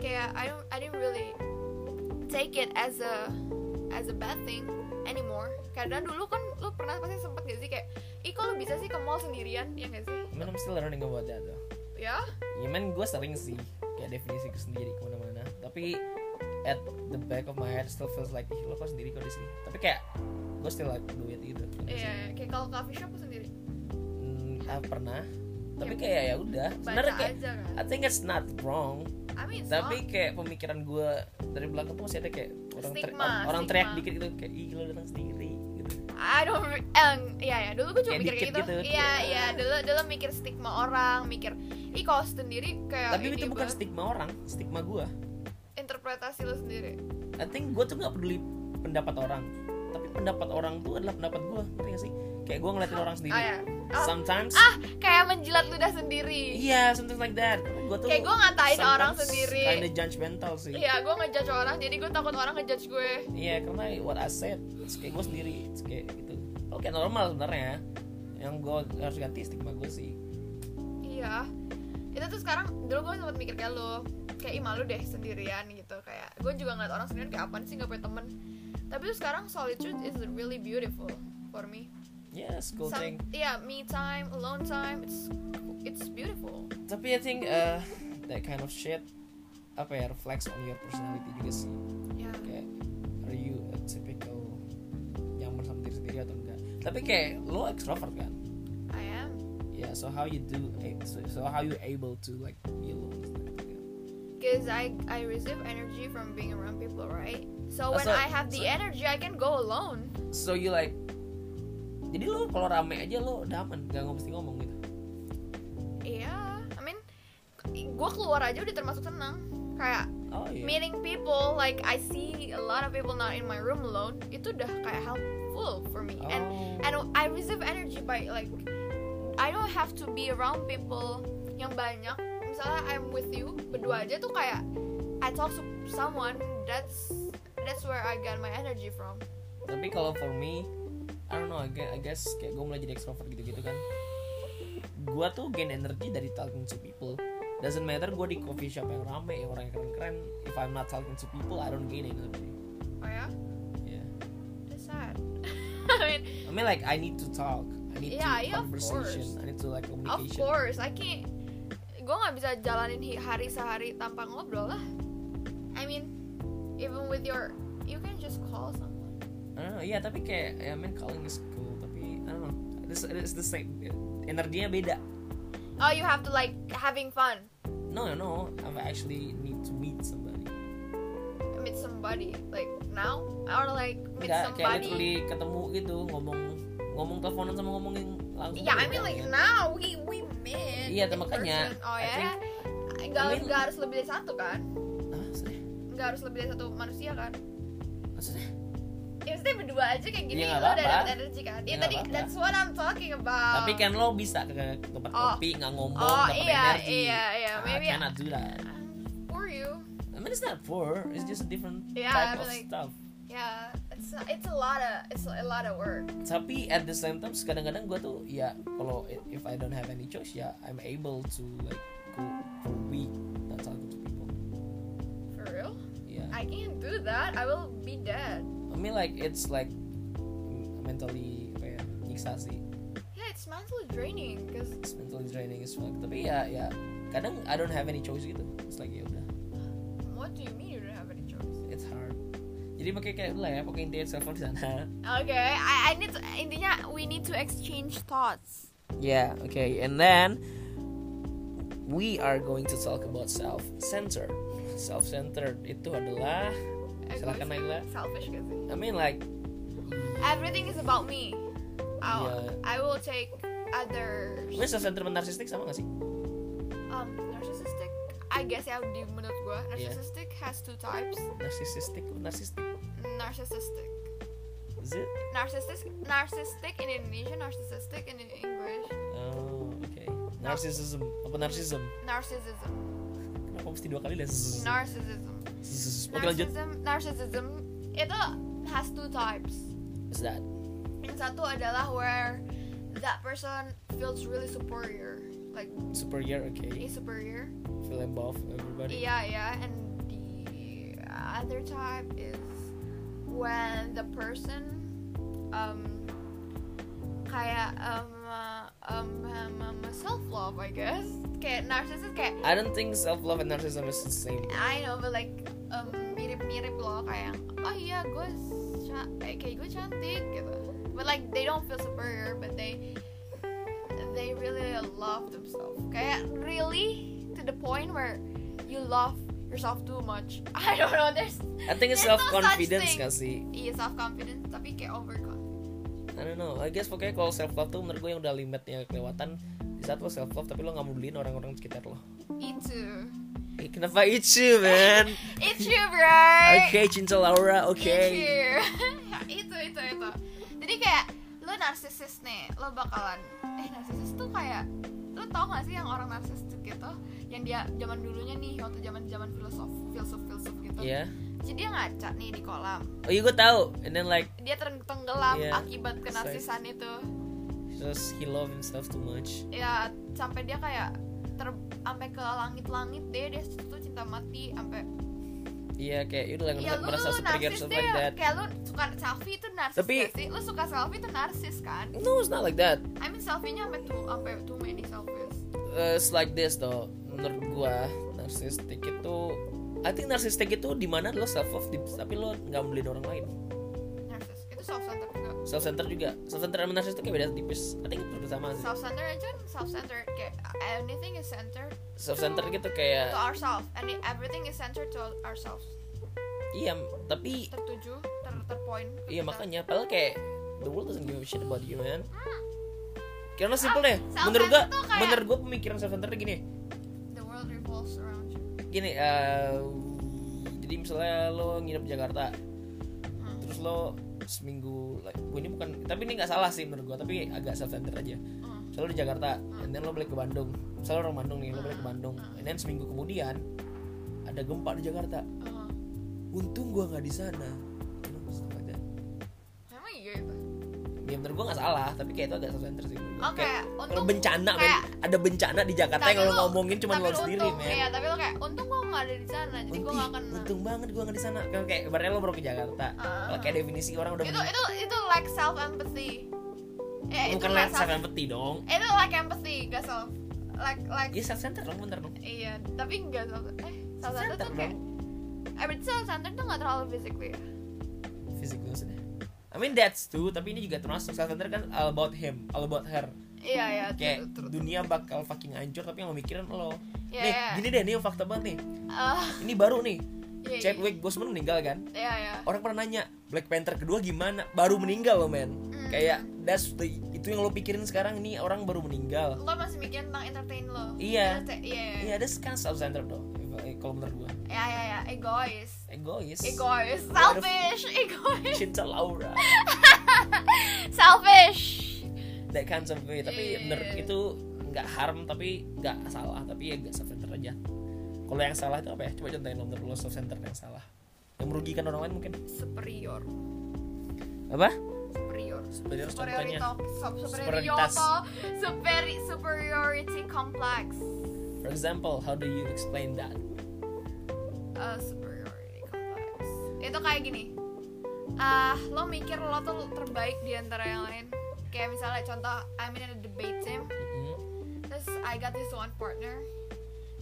Speaker 2: Kayak I don't. I didn't really take it as a as a bad thing anymore. Karena dulu kan lu pernah pasti sempet gak sih kayak, ih kok lu bisa sih ke mall sendirian ya gak sih?
Speaker 1: I mean, I'm still learning about that though
Speaker 2: Ya?
Speaker 1: ya men gue sering sih kayak definisi gue sendiri kemana-mana tapi at the back of my head still feels like "Ih, lo kok sendiri kok di sini tapi kayak gue still like do it gitu
Speaker 2: Iya. Kayak kalau coffee shop lu sendiri.
Speaker 1: Hmm, ah, pernah tapi kayak ya udah sebenarnya
Speaker 2: Iya. Baca
Speaker 1: kayak
Speaker 2: aja kan.
Speaker 1: I think it's not wrong
Speaker 2: I mean, it's
Speaker 1: tapi
Speaker 2: not-
Speaker 1: kayak pemikiran gue dari belakang tuh masih ada kayak orang teriak
Speaker 2: Stigma,
Speaker 1: orang teriak
Speaker 2: stigma.
Speaker 1: dikit gitu kayak ih lo datang sendiri gitu
Speaker 2: I don't re- eh, ya ya dulu gue cuma
Speaker 1: Kayak
Speaker 2: mikir kayak
Speaker 1: dikit
Speaker 2: gitu.
Speaker 1: gitu,
Speaker 2: Iya
Speaker 1: kayak-
Speaker 2: iya dulu dulu mikir stigma orang, mikir ih kalau sendiri kayak
Speaker 1: tapi
Speaker 2: ini
Speaker 1: itu bukan
Speaker 2: banget."
Speaker 1: stigma orang stigma gue
Speaker 2: interpretasi lu sendiri.
Speaker 1: I think gue tuh nggak peduli pendapat orang tapi pendapat orang tuh adalah pendapat gue ngerti gak sih kayak gue ngeliatin orang sendiri
Speaker 2: Ah ya. Ah,
Speaker 1: sometimes
Speaker 2: ah, kayak menjilat ludah sendiri.
Speaker 1: iya something like that gue tuh
Speaker 2: Kayak gue ngatain
Speaker 1: sometimes
Speaker 2: orang sendiri.
Speaker 1: kinda judgmental sih
Speaker 2: Iya, gue ngejudge orang, jadi gue takut orang ngejudge gue.
Speaker 1: Iya karena what I said it's kayak gue sendiri it's kayak gitu oke normal sebenarnya yang gue harus ganti stigma gue sih
Speaker 2: Iya. Itu tuh sekarang dulu gue sempat mikir kayak lu, kayak ih malu deh sendirian gitu kayak. Gue juga ngeliat orang sendirian kayak apaan sih nggak punya temen. Tapi tuh sekarang solitude is really beautiful for me.
Speaker 1: yes cool thing
Speaker 2: Some- Yeah, me time, alone time, it's it's beautiful.
Speaker 1: tapi I think uh, that kind of shit apa ya reflects on your personality juga sih
Speaker 2: Yeah.
Speaker 1: kayak are you a typical nyaman sama diri sendiri atau enggak tapi kayak lo extrovert kan
Speaker 2: I am.
Speaker 1: yeah so how you do so, so how you able to like be alone
Speaker 2: Cause I I receive energy from being around people, right? So when
Speaker 1: So-
Speaker 2: I have the
Speaker 1: so-
Speaker 2: energy, I can go alone.
Speaker 1: so you like jadi lo kalau rame aja lo daman gak mesti ngomong gitu
Speaker 2: Yeah. I mean, gue keluar aja udah termasuk senang. Kayak
Speaker 1: oh iya
Speaker 2: meeting people, like I see a lot of people not in my room alone. Itu udah kayak helpful for me. And
Speaker 1: Oh.
Speaker 2: and I receive energy by like I don't have to be around people yang banyak. misalnya I'm with you berdua aja tuh kayak I talk to someone that's that's where I get my energy from
Speaker 1: tapi kalau for me I don't know I guess, I guess kayak gue mulai jadi extrovert gitu-gitu kan gue tuh gain energy dari talking to people doesn't matter gue di coffee shop yang rame yang orang yang keren-keren if I'm not talking to people I don't gain energy
Speaker 2: oh ya
Speaker 1: yeah
Speaker 2: that's sad *laughs* I mean
Speaker 1: I mean like I need to talk I need
Speaker 2: Yeah,
Speaker 1: to
Speaker 2: yeah, of
Speaker 1: conversation I need to like
Speaker 2: of
Speaker 1: communication
Speaker 2: course I can't gue nggak bisa jalanin hi- hari sehari tanpa ngobrol lah I mean even with your you can just call someone
Speaker 1: I don't know, iya tapi kayak I mean calling is cool tapi I don't know it's, it's the same energinya beda
Speaker 2: oh you have to like having fun
Speaker 1: no no no I actually need to meet somebody
Speaker 2: meet somebody like now or like meet
Speaker 1: Enggak, kayak
Speaker 2: somebody
Speaker 1: literally ketemu gitu ngomong ngomong teleponan sama ngomongin langsung
Speaker 2: yeah I
Speaker 1: gitu
Speaker 2: mean like
Speaker 1: kan.
Speaker 2: now we we met
Speaker 1: Iya,
Speaker 2: in
Speaker 1: makanya,
Speaker 2: person. oh
Speaker 1: I
Speaker 2: ya
Speaker 1: think-
Speaker 2: nggak
Speaker 1: I mean-
Speaker 2: nggak harus lebih dari satu kan
Speaker 1: ah serius
Speaker 2: nggak harus lebih dari satu manusia kan
Speaker 1: maksudnya
Speaker 2: ya maksudnya berdua aja kayak gini
Speaker 1: Iya,
Speaker 2: lo
Speaker 1: nggak
Speaker 2: udah
Speaker 1: apa-apa.
Speaker 2: dapet energi kan ya
Speaker 1: Iya,
Speaker 2: tadi
Speaker 1: nggak apa-apa.
Speaker 2: that's what I'm talking about
Speaker 1: tapi kan lo bisa ke ke tempat
Speaker 2: uh, Oh.
Speaker 1: kopi nggak ngomong
Speaker 2: Oh,
Speaker 1: dapat
Speaker 2: iya,
Speaker 1: energi
Speaker 2: iya, iya.
Speaker 1: Ah,
Speaker 2: Maybe-
Speaker 1: cannot do that
Speaker 2: for you
Speaker 1: I mean it's not poor it's just a different
Speaker 2: Yeah,
Speaker 1: type of
Speaker 2: I mean, like-
Speaker 1: stuff
Speaker 2: yeah it's it's a lot of it's a lot of work
Speaker 1: tapi at the same time kadang-kadang gue tuh ya kalau i- if I don't have any choice ya I'm able to like go for a week not talking to people
Speaker 2: for real
Speaker 1: yeah
Speaker 2: I can't do that I will be dead
Speaker 1: I mean like it's like mentally apa ya nyiksa sih
Speaker 2: yeah it's mentally draining because
Speaker 1: it's mentally draining as fuck tapi ya ya kadang I don't have any choice gitu it's like ya udah
Speaker 2: what do you mean you don't have any choice
Speaker 1: it's hard jadi pakai kayak lah ya pakai intinya self di sana
Speaker 2: okay I, I need to, intinya we need to exchange thoughts
Speaker 1: yeah okay and then we are going to talk about self center self centered itu adalah silakan Naila
Speaker 2: selfish gak sih?
Speaker 1: I mean like
Speaker 2: everything is about me I'll,
Speaker 1: Yeah.
Speaker 2: I will take others
Speaker 1: ini self centered sama narsistik sama gak sih
Speaker 2: um narcissistic I guess ya di menurut gue
Speaker 1: Yeah.
Speaker 2: narcissistic has two types
Speaker 1: narsistik narsistik
Speaker 2: narcissistic
Speaker 1: is it
Speaker 2: narcissistic narcissistic in Indonesian narcissistic in English
Speaker 1: oh okay narcissism apa narcissism
Speaker 2: narcissism
Speaker 1: kenapa mesti dua kali narcissism
Speaker 2: narcissism
Speaker 1: Narcissism. oke lanjut
Speaker 2: narcissism narcissism itu has two types
Speaker 1: what's that
Speaker 2: yang satu adalah where that person feels really superior like
Speaker 1: superior okay
Speaker 2: is superior
Speaker 1: feel above everybody
Speaker 2: yeah yeah and the other type is when the person um kayak um, uh, um, self love I guess kayak narcissist kayak
Speaker 1: I don't think self love and narcissism is the same.
Speaker 2: I know, but like um, mirip-mirip loh kayak oh iya gue ca- eh, kayak gue cantik gitu. But like they don't feel superior, but they they really love themselves. Kayak really to the point where you love yourself too much. *laughs* I don't know. There's
Speaker 1: I think it's
Speaker 2: There's
Speaker 1: self
Speaker 2: no
Speaker 1: confidence
Speaker 2: such thing.
Speaker 1: gak sih?
Speaker 2: iya self confidence tapi kayak overconfident.
Speaker 1: I don't know. I guess pokoknya kalau self love tuh menurut gue yang udah limitnya kelewatan. Di saat lo self love tapi lo nggak mau beliin orang-orang di sekitar lo.
Speaker 2: Itu.
Speaker 1: Eh, kenapa itu man?
Speaker 2: It's you, bro.
Speaker 1: Oke, cinta Laura, oke.
Speaker 2: Okay. *laughs* itu itu itu. Jadi kayak lu narsisis nih, lo bakalan eh narsisis tuh kayak lu tau gak sih yang orang narsistik gitu yang dia zaman dulunya nih waktu zaman zaman filosof filsuf filsuf gitu
Speaker 1: Iya.
Speaker 2: jadi dia ngaca nih di kolam
Speaker 1: Oh iya gue tahu. And then like
Speaker 2: dia tereng- tenggelam
Speaker 1: Iya.
Speaker 2: akibat kenarsisan itu
Speaker 1: just he love himself too much.
Speaker 2: ya sampai dia kayak ter sampai ke langit-langit deh dia tuh cinta mati sampai
Speaker 1: Iya kayak udah lah
Speaker 2: ya lu
Speaker 1: merasa
Speaker 2: lu
Speaker 1: superior
Speaker 2: narsis
Speaker 1: stuff
Speaker 2: deh
Speaker 1: like that.
Speaker 2: kayak lu suka selfie itu narsis
Speaker 1: Tapi-
Speaker 2: gak sih lu suka selfie itu narsis kan
Speaker 1: No, it's not like that.
Speaker 2: I mean selfie-nya sampai too, sampai too many selfies.
Speaker 1: Uh, it's like this though. Menurut gua narsistik itu I think narsistik itu dimana lo self love tapi lo nggak beliin orang lain.
Speaker 2: Narsis. Itu self centered juga.
Speaker 1: self center juga self center sama narsis itu kayak beda tipis I think itu sama sih
Speaker 2: Self centered aja kan self centered kayak anything is centered
Speaker 1: self center gitu kayak
Speaker 2: to ourselves. Any everything is centered to ourselves.
Speaker 1: iya tapi
Speaker 2: Tertuju, ter terpoint. ke
Speaker 1: iya
Speaker 2: kita.
Speaker 1: makanya padahal kayak the world doesn't give a shit about you man karena
Speaker 2: Ah,
Speaker 1: simple deh
Speaker 2: self-centered
Speaker 1: menurut gua
Speaker 2: tuh kayak-
Speaker 1: menurut gua pemikiran self center gini
Speaker 2: The world revolves around you.
Speaker 1: gini eh, jadi misalnya lo nginep di Jakarta
Speaker 2: Hmm.
Speaker 1: terus lo seminggu like, gua ini bukan tapi ini nggak salah sih menurut gua tapi agak self center aja
Speaker 2: Hmm.
Speaker 1: Terus misalnya lo di Jakarta and then lo balik ke Bandung misalnya lo orang Bandung nih lo balik
Speaker 2: Hmm.
Speaker 1: ke Bandung and then seminggu kemudian ada gempa di Jakarta
Speaker 2: Uh-huh.
Speaker 1: untung gua nggak di sana You know, stuff like that.
Speaker 2: Emang iya itu?
Speaker 1: ya bener gua nggak salah tapi kayak itu agak self-centered sih
Speaker 2: Oke,
Speaker 1: Kayak,
Speaker 2: untung
Speaker 1: kalau bencana men,
Speaker 2: kayak-
Speaker 1: ada bencana di Jakarta
Speaker 2: Tapi
Speaker 1: yang lo
Speaker 2: lu-
Speaker 1: ngomongin cuma
Speaker 2: tapi
Speaker 1: lo
Speaker 2: lu
Speaker 1: sendiri
Speaker 2: untung- Iya,
Speaker 1: men
Speaker 2: tapi lo kayak untung gue nggak ada di sana, jadi gue
Speaker 1: Untung-
Speaker 2: nggak kena.
Speaker 1: untung banget gua nggak di sana kayak kayak ibaratnya lo baru ke Jakarta
Speaker 2: Ah.
Speaker 1: kalau kayak definisi orang udah
Speaker 2: Itu
Speaker 1: mending-
Speaker 2: itu itu like self empathy. Eh, itu
Speaker 1: bukan
Speaker 2: nggak
Speaker 1: lens sama peti dong
Speaker 2: Itu like empathy, gak self. Like like
Speaker 1: ya self-centered dong bentar dong
Speaker 2: iya, tapi nggak self. Eh, self centered tuh
Speaker 1: Self-centered
Speaker 2: kayak.
Speaker 1: dong
Speaker 2: Eh, berarti self centered tuh nggak terlalu physically. ya?
Speaker 1: fisik maksudnya I mean that's too tapi ini juga termasuk self-centered kan all about him all about her
Speaker 2: Iya iya. true,
Speaker 1: kayak
Speaker 2: true, true.
Speaker 1: dunia bakal fucking hancur tapi yang lo mikirin lo
Speaker 2: Iya,
Speaker 1: nih
Speaker 2: iya.
Speaker 1: gini deh nih fakta banget nih
Speaker 2: Ah,
Speaker 1: ini baru nih
Speaker 2: iya, iya.
Speaker 1: Chadwick Boseman meninggal kan
Speaker 2: Iya iya.
Speaker 1: orang pernah nanya Black Panther kedua gimana baru meninggal loh men
Speaker 2: Mm.
Speaker 1: kayak that's the, itu yang lo pikirin sekarang ini orang baru meninggal
Speaker 2: Lo masih mikirin tentang entertain lo.
Speaker 1: Iya.
Speaker 2: Entertain- Iya.
Speaker 1: ya
Speaker 2: Iya
Speaker 1: that's kind of self-centered dong if- eh, kalau menurut gue
Speaker 2: iya iya. iya, Egois.
Speaker 1: egois
Speaker 2: Egois. Selfish. Egois.
Speaker 1: cinta Laura
Speaker 2: Selfish.
Speaker 1: that kind of way tapi
Speaker 2: Iya.
Speaker 1: bener itu nggak harm tapi nggak salah tapi ya nggak self-centered aja kalau yang salah itu apa ya coba contohin lo menurut lo self-centered yang salah yang merugikan orang lain mungkin
Speaker 2: Superior.
Speaker 1: apa
Speaker 2: Superior.
Speaker 1: superior
Speaker 2: Superiority,
Speaker 1: contohnya
Speaker 2: sub-
Speaker 1: Superioritas.
Speaker 2: superiority, superi- superiority complex.
Speaker 1: for example how do you explain that
Speaker 2: Uh, superiority complex. Itu kayak gini. Ah, lo mikir lo tuh terbaik di antara yang lain. Kayak misalnya contoh, I'm in a debate team.
Speaker 1: Hmm.
Speaker 2: Terus I got this one partner.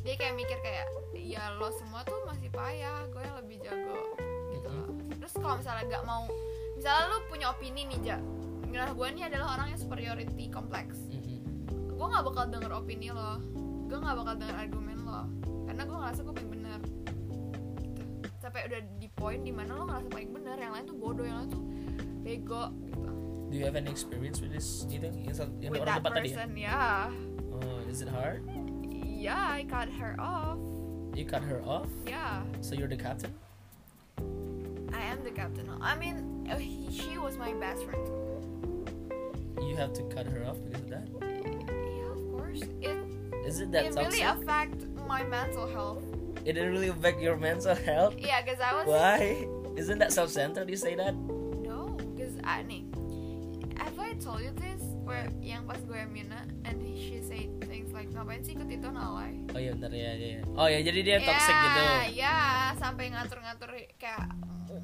Speaker 2: Dia kayak mikir kayak, ya lo semua tuh masih payah, gue yang lebih jago gitu loh. Terus kalau misalnya gak mau, misalnya lo punya opini nih, Ja. Nah, gue ini adalah orang yang superiority complex.
Speaker 1: Mhm.
Speaker 2: gue nggak bakal denger opini lo gue nggak bakal denger argumen lo karena gue ngerasa gue paling bener gitu. sampai udah di poin dimana lo ngerasa paling bener yang lain tuh bodoh yang lain tuh bego gitu
Speaker 1: Do you have any experience with this? Itu yang, sat- yang
Speaker 2: with
Speaker 1: orang
Speaker 2: that
Speaker 1: tempat tadi. ya?
Speaker 2: person ya
Speaker 1: Oh, is it hard?
Speaker 2: yeah I cut her off
Speaker 1: You cut her off,
Speaker 2: yeah
Speaker 1: so you're the captain.
Speaker 2: I am the captain I mean uh, he, she was my best friend
Speaker 1: You have to cut her off because of that.
Speaker 2: yeah of course it
Speaker 1: Is it that
Speaker 2: it
Speaker 1: toxic?
Speaker 2: Eh, really affect my mental health
Speaker 1: It didn't really affect your mental health.
Speaker 2: yeah because I was
Speaker 1: Why? Isn't that self-centered? You say that?
Speaker 2: No, because I nih, have I told you this? Where yang pas gue Mina and she said things like ngapain sih ikut itu nalai?
Speaker 1: Oh iya benar ya, ya. ya. Oh ya jadi dia toxic gitu.
Speaker 2: Ya, sampai ngatur-ngatur kayak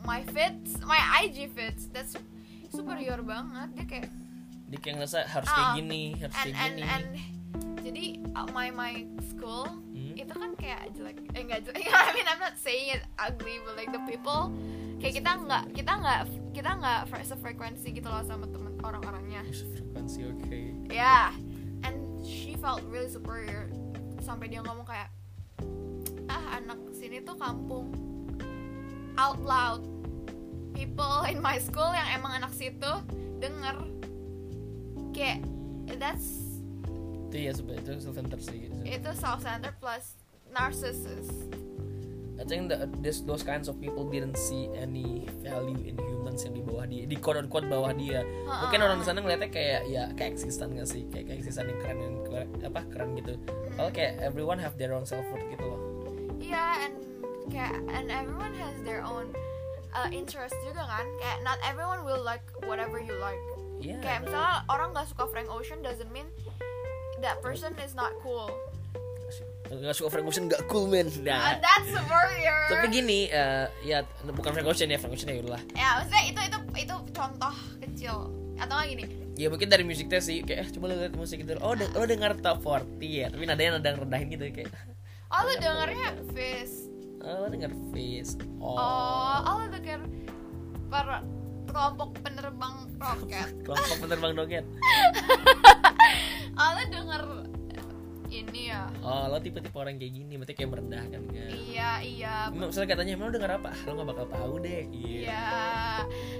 Speaker 2: my fits, my IG fits. That's superior banget dia kayak
Speaker 1: Dia kayak ngerasa harus kayak
Speaker 2: Ah,
Speaker 1: gini, harus
Speaker 2: and
Speaker 1: kayak
Speaker 2: and
Speaker 1: gini.
Speaker 2: and jadi uh, my my school
Speaker 1: Hmm?
Speaker 2: itu kan kayak jelek eh nggak jelek *laughs* I mean I'm not saying it ugly but like the people kayak kita nggak kita nggak kita nggak fre- sefrekuensi gitu loh sama temen orang-orangnya
Speaker 1: Frekuensi oke.
Speaker 2: Yeah. And she felt really superior sampai dia ngomong kayak ah anak sini tuh kampung out loud people in my school yang emang anak situ denger kayak that's
Speaker 1: Itu ya super itu self-centered sih. gitu.
Speaker 2: itu self centered plus narcissist
Speaker 1: I think that this, those kinds of people didn't see any value in humans yang di bawah dia, di quote unquote bawah dia. Mungkin orang di sana ngeliatnya kayak ya kayak existan gak sih, kayak existan yang keren yang keren- apa keren gitu. Kalau kayak everyone have their own self worth gitu loh.
Speaker 2: yeah and kayak and everyone has their own uh, interest juga kan kayak not everyone will like whatever you like
Speaker 1: Iya.
Speaker 2: Kayak
Speaker 1: no.
Speaker 2: misalnya orang gak suka Frank Ocean doesn't mean that person is not cool.
Speaker 1: Nggak suka Frank Ocean gak cool men.
Speaker 2: Uh,
Speaker 1: Nah.
Speaker 2: that's superior.
Speaker 1: Tapi gini, eh, ya bukan Frank Ocean ya, Frank Ocean ya udahlah.
Speaker 2: Ya, maksudnya itu itu itu contoh kecil. Atau nggak gini?
Speaker 1: Ya mungkin dari musiknya sih kayak eh coba lo lihat musik itu. Oh, de- lo dengar top 40 ya, tapi nadanya nada rendahin gitu kayak.
Speaker 2: Oh lu dengernya Fizz.
Speaker 1: Oh, lo denger Face. Oh.
Speaker 2: Oh, oh lu denger para kelompok penerbang
Speaker 1: *laughs*
Speaker 2: roket.
Speaker 1: Kelompok penerbang doget.
Speaker 2: Oh lu denger ini ya?
Speaker 1: Oh, lo tipe-tipe orang kayak gini, berarti kayak merendahkan kan.
Speaker 2: Iya iya.
Speaker 1: Emang misalnya katanya emang lo denger apa? Ah, Lo gak bakal tahu deh. Iya.
Speaker 2: Iya.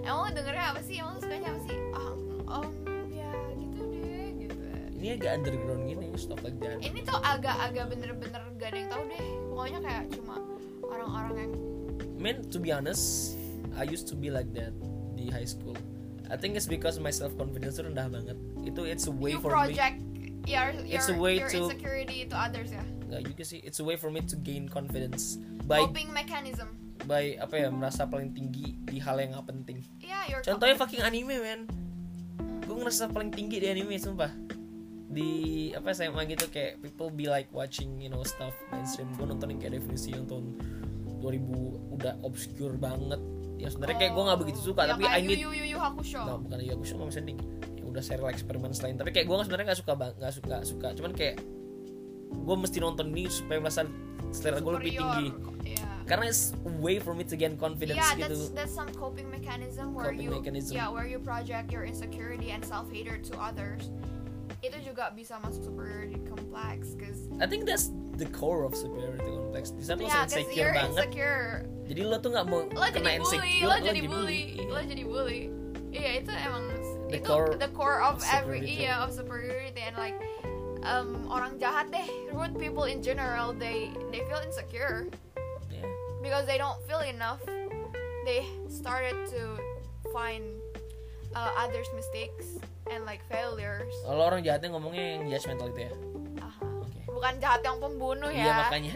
Speaker 2: Emang lu dengernya apa sih? Emang lu sukanya apa sih? Oh, oh ya gitu deh gitu.
Speaker 1: Ini agak underground gini, stuff like that.
Speaker 2: ini tuh agak-agak bener-bener gak ada yang tahu deh pokoknya kayak cuma orang-orang yang
Speaker 1: Man, to be honest, I used to be like that di high school. I think it's because my self confidence rendah banget. Itu it's a way
Speaker 2: you
Speaker 1: for
Speaker 2: project your, your,
Speaker 1: It's a way
Speaker 2: your
Speaker 1: to-
Speaker 2: insecurity to others ya
Speaker 1: nggak juga sih it's a way for me to gain confidence by
Speaker 2: coping mechanism
Speaker 1: by apa ya merasa paling tinggi di hal yang gak penting
Speaker 2: yeah your
Speaker 1: contohnya fucking anime men gue ngerasa paling tinggi di anime sumpah di apa SMA gitu kayak people be like watching you know stuff mainstream gue nonton yang kayak definisi yang tahun 2000 udah obscure banget ya sebenarnya kayak gue
Speaker 2: Oh,
Speaker 1: nggak begitu suka
Speaker 2: iya,
Speaker 1: tapi I need
Speaker 2: Yu Yu Yu Hakusho
Speaker 1: Nah, bukan ya gue suka misalnya di- ya udah serial eksperimen lain tapi kayak gue sebenarnya nggak suka bang nggak suka nggak suka cuman kayak gue mesti nonton ini supaya merasa selera gue lebih tinggi
Speaker 2: yeah.
Speaker 1: karena it's a way for me to gain confidence
Speaker 2: yeah,
Speaker 1: gitu
Speaker 2: that's that's some coping mechanism where
Speaker 1: Coping
Speaker 2: you
Speaker 1: mechanism.
Speaker 2: yeah where you project your insecurity and self hatred to others. Itu juga bisa masuk superiority complex, cause
Speaker 1: I think that's the core of superiority complex di saat lo
Speaker 2: yeah, cause
Speaker 1: insecure
Speaker 2: you're
Speaker 1: banget
Speaker 2: insecure.
Speaker 1: jadi lo tuh nggak mau
Speaker 2: Lo
Speaker 1: kena
Speaker 2: jadi bully,
Speaker 1: insecure
Speaker 2: lo jadi bully,
Speaker 1: Iya.
Speaker 2: lo jadi bully. Iya itu emang
Speaker 1: The
Speaker 2: itu
Speaker 1: core
Speaker 2: the core
Speaker 1: of
Speaker 2: of every
Speaker 1: superiority.
Speaker 2: iya of superiority and like um, orang jahat deh, rude people in general they they feel insecure.
Speaker 1: Iya.
Speaker 2: because they don't feel enough they started to find uh, others mistakes and like failures
Speaker 1: Kalau orang jahatnya ngomongnya yang judgmental itu ya.
Speaker 2: Aha.
Speaker 1: Oke.
Speaker 2: bukan jahat yang pembunuh
Speaker 1: Iya
Speaker 2: ya
Speaker 1: makanya.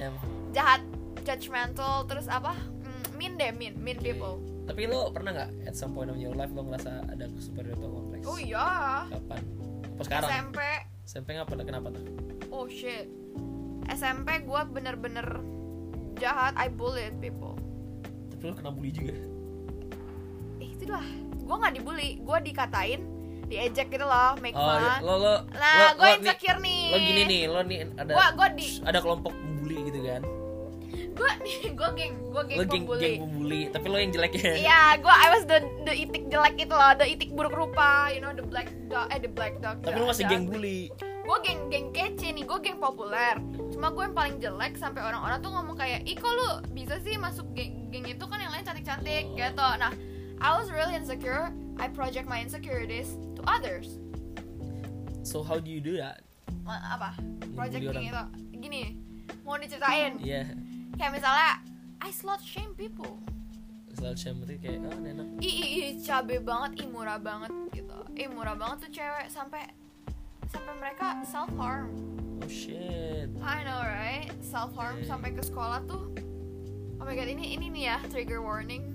Speaker 2: jahat judgmental terus apa Mm, mean deh mean mean people
Speaker 1: Tapi lo pernah nggak at some point of your life lo ngerasa ada superiority complex?
Speaker 2: oh iya
Speaker 1: Kapan? Pas sekarang.
Speaker 2: SMP
Speaker 1: SMP nggak pernah kenapa tuh?
Speaker 2: oh shit SMP gue bener-bener jahat I bullied people
Speaker 1: Tapi lo kena bully juga.
Speaker 2: eh, itu lah gue nggak dibully gue dikatain diejek gitu loh make
Speaker 1: Oh, iya.
Speaker 2: fun
Speaker 1: lo lo. lo-
Speaker 2: nah gue
Speaker 1: lo nih-
Speaker 2: insecure nih
Speaker 1: Lo gini nih, lo nih ada
Speaker 2: Gua- gua di-
Speaker 1: ada kelompok pembuli gitu kan.
Speaker 2: gue gue geng gue geng
Speaker 1: Lo geng
Speaker 2: pembuli
Speaker 1: geng pembuli, tapi lo yang ya. jeleknya.
Speaker 2: iya gue I was the the itik jelek itu loh the itik buruk rupa you know the black dog eh the black dog
Speaker 1: Tapi lo masih geng bully.
Speaker 2: gue geng geng kece nih gue geng populer cuma gue yang paling jelek sampai orang-orang tuh ngomong kayak ih kok lu bisa sih masuk geng geng itu kan yang lain cantik-cantik
Speaker 1: Oh.
Speaker 2: gitu nah I was really insecure I project my insecurities to others
Speaker 1: So how do you do that?
Speaker 2: Ma- apa projecting
Speaker 1: bully
Speaker 2: itu gini mau diceritain
Speaker 1: Iya.
Speaker 2: kayak misalnya I slut shame people
Speaker 1: Selalu cemberut kayak oh enak.
Speaker 2: ih ih, ih, cabe banget ih murah banget gitu ih murah banget tuh cewek sampai sampai mereka self harm
Speaker 1: Oh shit.
Speaker 2: I know right self harm
Speaker 1: Hmm.
Speaker 2: sampai ke sekolah tuh oh my god ini ini nih ya trigger warning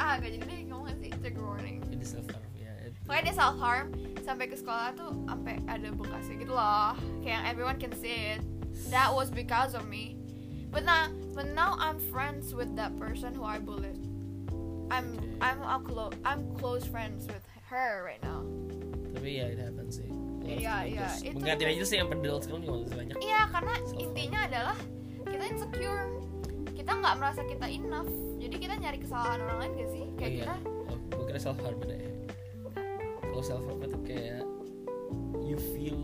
Speaker 2: ah gak jadi deh ngomong nggak sih trigger warning
Speaker 1: Jadi self harm ya. it-
Speaker 2: pokoknya dia self harm sampai ke sekolah tuh sampai ada bekasnya gitu loh kayak yang everyone can see it that was because of me but now but now I'm friends with that person who I bullied I'm I'm a close I'm close friends with her right now
Speaker 1: Tapi ya it happens sih. Lo harus
Speaker 2: Iya,
Speaker 1: terus
Speaker 2: iya, itu-
Speaker 1: Mengganti aja sih yang pedal sekarang juga masih banyak.
Speaker 2: Iya, karena
Speaker 1: Self-harm.
Speaker 2: intinya adalah kita insecure. Kita nggak merasa kita enough. Jadi kita nyari kesalahan orang lain gak sih? Kayak
Speaker 1: oh, iya.
Speaker 2: kita
Speaker 1: Oh, gue kira self harm beda ya. Kalau self harm itu kayak you feel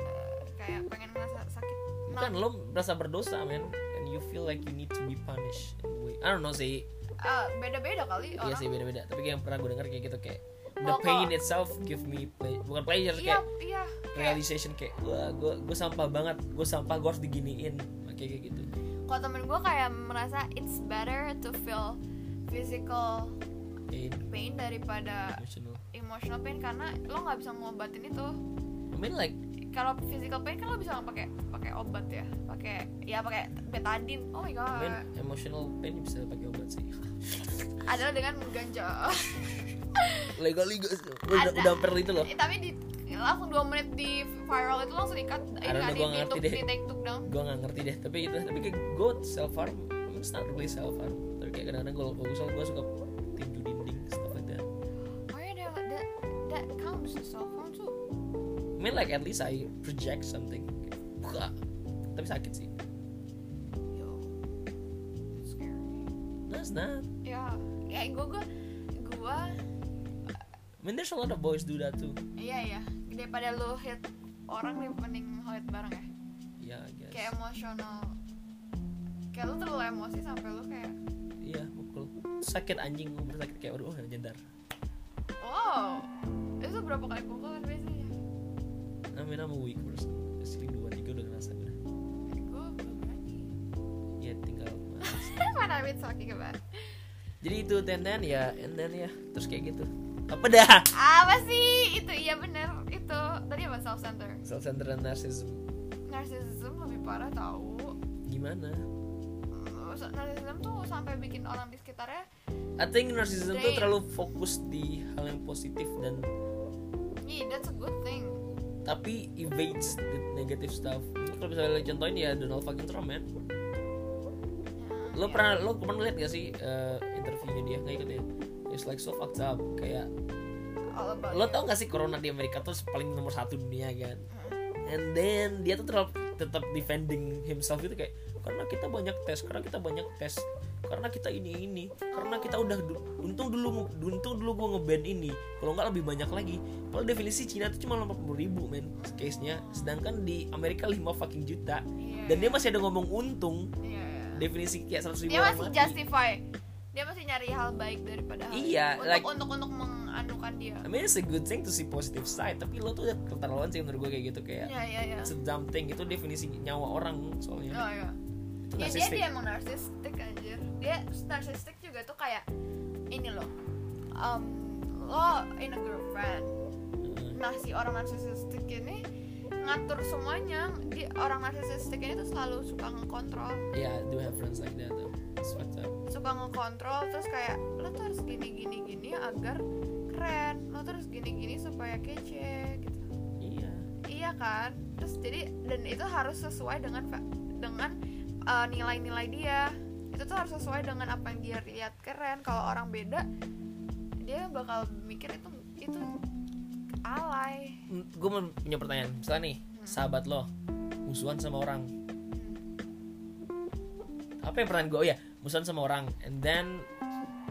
Speaker 2: eh, kayak pengen ngerasa sakit. Nah,
Speaker 1: bukan Kan lo merasa berdosa men and you feel like you need to be punished in a way. I don't know sih
Speaker 2: eh, beda-beda kali
Speaker 1: iya
Speaker 2: orang.
Speaker 1: sih beda-beda tapi kayak yang pernah gue denger kayak gitu kayak the
Speaker 2: Kalau-
Speaker 1: pain itself give me play bukan pleasure
Speaker 2: Iya,
Speaker 1: kayak
Speaker 2: iya. Kayak
Speaker 1: realization kayak wah gue gue sampah banget gue sampah gue harus diginiin kayak kayak gitu
Speaker 2: kalau temen gue kayak merasa it's better to feel physical
Speaker 1: pain
Speaker 2: pain daripada
Speaker 1: emotional
Speaker 2: emotional pain karena lo nggak bisa ngobatin itu.
Speaker 1: I mean like
Speaker 2: Kalau physical pain kan lo bisa pakai pakai obat ya, pakai ya pakai betadine. Oh
Speaker 1: I
Speaker 2: my god.
Speaker 1: mean emotional pain bisa pakai obat sih *laughs*
Speaker 2: adalah dengan mengganja.
Speaker 1: legal legal udah
Speaker 2: Ada.
Speaker 1: udah hampir itu loh
Speaker 2: Eh, tapi di langsung dua menit di viral itu langsung dikat ini
Speaker 1: Aduh,
Speaker 2: kan
Speaker 1: gua nggak ngerti
Speaker 2: di, di,
Speaker 1: deh.
Speaker 2: di take took down.
Speaker 1: gue nggak ngerti deh tapi itu tapi kayak gue self harm it's not really self harm tapi kayak kadang-kadang gue gue gue suka tinju dinding stuff like that
Speaker 2: Oh ya that that, that counts as cell phone too.
Speaker 1: I mean like at least I project something Wah, tapi sakit sih
Speaker 2: Yo, it's scary.
Speaker 1: no it's not
Speaker 2: Ya, kayak gue gue gue
Speaker 1: I mean there's a lot of boys do that too
Speaker 2: iya ya daripada lu hit orang lebih mending hit bareng ya.
Speaker 1: yeah I guess
Speaker 2: Kayak emosional. Kayak lu terlalu emosi sampai lu kayak
Speaker 1: iya mukul sakit anjing gue sakit kayak aduh oh, jendar
Speaker 2: wow. Itu berapa kali pukulan biasanya?
Speaker 1: I mean I'm a weak person sering dua tiga udah ngerasa udah
Speaker 2: Gue belum *laughs* berani.
Speaker 1: ya tinggal
Speaker 2: What are we talking about?
Speaker 1: jadi itu and then ya and then ya terus kayak gitu apa dah
Speaker 2: apa sih itu iya bener itu tadi apa self center
Speaker 1: self centered dan narcissism
Speaker 2: narcissism lebih parah tahu
Speaker 1: gimana
Speaker 2: Eh, narcissism tuh sampai bikin orang di sekitarnya
Speaker 1: I think narcissism tuh
Speaker 2: Drain.
Speaker 1: terlalu fokus di hal yang positif dan
Speaker 2: yeah that's a good thing
Speaker 1: tapi evades the negative stuff kalau misalnya lo contohin ya Donald fucking Trump man
Speaker 2: Ya,
Speaker 1: lo
Speaker 2: ya.
Speaker 1: pernah lo kemarin lihat gak sih eh, interviewnya dia nggak ikut ya it's like so fucked up kayak
Speaker 2: All about
Speaker 1: lo
Speaker 2: you.
Speaker 1: tau gak sih corona di Amerika tuh paling nomor satu dunia kan
Speaker 2: Mm.
Speaker 1: and then dia tuh terlalu tetap defending himself gitu kayak karena kita banyak tes karena kita banyak tes karena kita ini ini karena kita udah du- untung dulu untung dulu gue ngeband ini kalau nggak lebih banyak lagi kalau definisi Cina tuh cuma 80 ribu men case nya sedangkan di Amerika 5 fucking juta
Speaker 2: Iya.
Speaker 1: dan dia masih ada ngomong untung
Speaker 2: Iya, iya.
Speaker 1: definisi kayak 100 ribu
Speaker 2: dia
Speaker 1: orang
Speaker 2: masih
Speaker 1: mati.
Speaker 2: justify dia masih nyari hal baik daripada hal
Speaker 1: Iya,
Speaker 2: untuk,
Speaker 1: like-
Speaker 2: untuk untuk menganukan dia
Speaker 1: I mean it's a good thing to see positive side tapi lo tuh udah keterlaluan sih menurut gue kayak gitu kayak
Speaker 2: iya iya iya
Speaker 1: it's a dumb thing itu definisi nyawa orang soalnya
Speaker 2: Oh, iya.
Speaker 1: itu
Speaker 2: ya dia
Speaker 1: narcissistic.
Speaker 2: dia emang narsistik anjir dia narsistik juga tuh kayak ini loh um, lo in a girlfriend
Speaker 1: Heeh.
Speaker 2: nah si orang narsistik ini ngatur semuanya dia orang narsistik ini tuh selalu suka ngekontrol
Speaker 1: Yeah, I do have friends like that though. It's fucked up.
Speaker 2: suka ngekontrol terus kayak lo tuh harus gini gini gini agar keren lo tuh harus gini gini supaya kece gitu
Speaker 1: Iya.
Speaker 2: iya kan terus jadi dan itu harus sesuai dengan fa- dengan uh, nilai-nilai dia itu tuh harus sesuai dengan apa yang dia lihat keren kalau orang beda dia bakal mikir itu itu alay
Speaker 1: Gue mau punya pertanyaan. Misalnya nih, sahabat lo musuhan sama orang. Apa yang pernah gue? Oh ya, musuhan sama orang. And then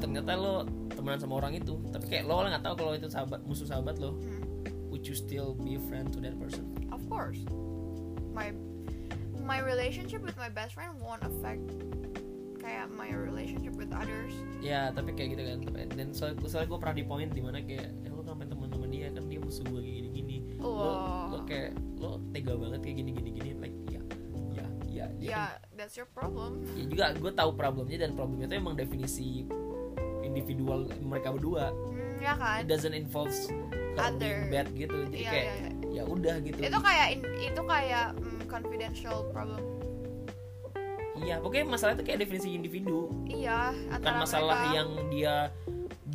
Speaker 1: ternyata lo temenan sama orang itu, tapi kayak lo nggak tahu kalau itu sahabat musuh sahabat lo.
Speaker 2: Hmm,
Speaker 1: Would you still be a friend to that person?
Speaker 2: of course my my relationship with my best friend won't affect kayak my relationship with others
Speaker 1: Ya, tapi kayak gitu kan. Tapi- Dan soal- soalnya gue pernah di point dimana kayak, eh, lo ngapain temen sama dia kan dia musuh gue kayak gini-gini. Lo,
Speaker 2: Wah.
Speaker 1: lo kayak lo tega banget kayak gini-gini-gini. Like ya, ya, ya. dia kan
Speaker 2: ya that's your problem
Speaker 1: ya juga gue tahu problemnya dan problemnya itu emang definisi individual mereka berdua
Speaker 2: Hmm, ya
Speaker 1: it
Speaker 2: kan
Speaker 1: doesn't involve her being
Speaker 2: Other.
Speaker 1: bad gitu jadi
Speaker 2: Iya,
Speaker 1: kayak
Speaker 2: iya,
Speaker 1: ya udah gitu
Speaker 2: itu kayak in- itu kayak mm, confidential problem
Speaker 1: iya pokoknya masalah itu kayak definisi individu
Speaker 2: Iya,
Speaker 1: bukan
Speaker 2: antara
Speaker 1: masalah
Speaker 2: mereka.
Speaker 1: yang dia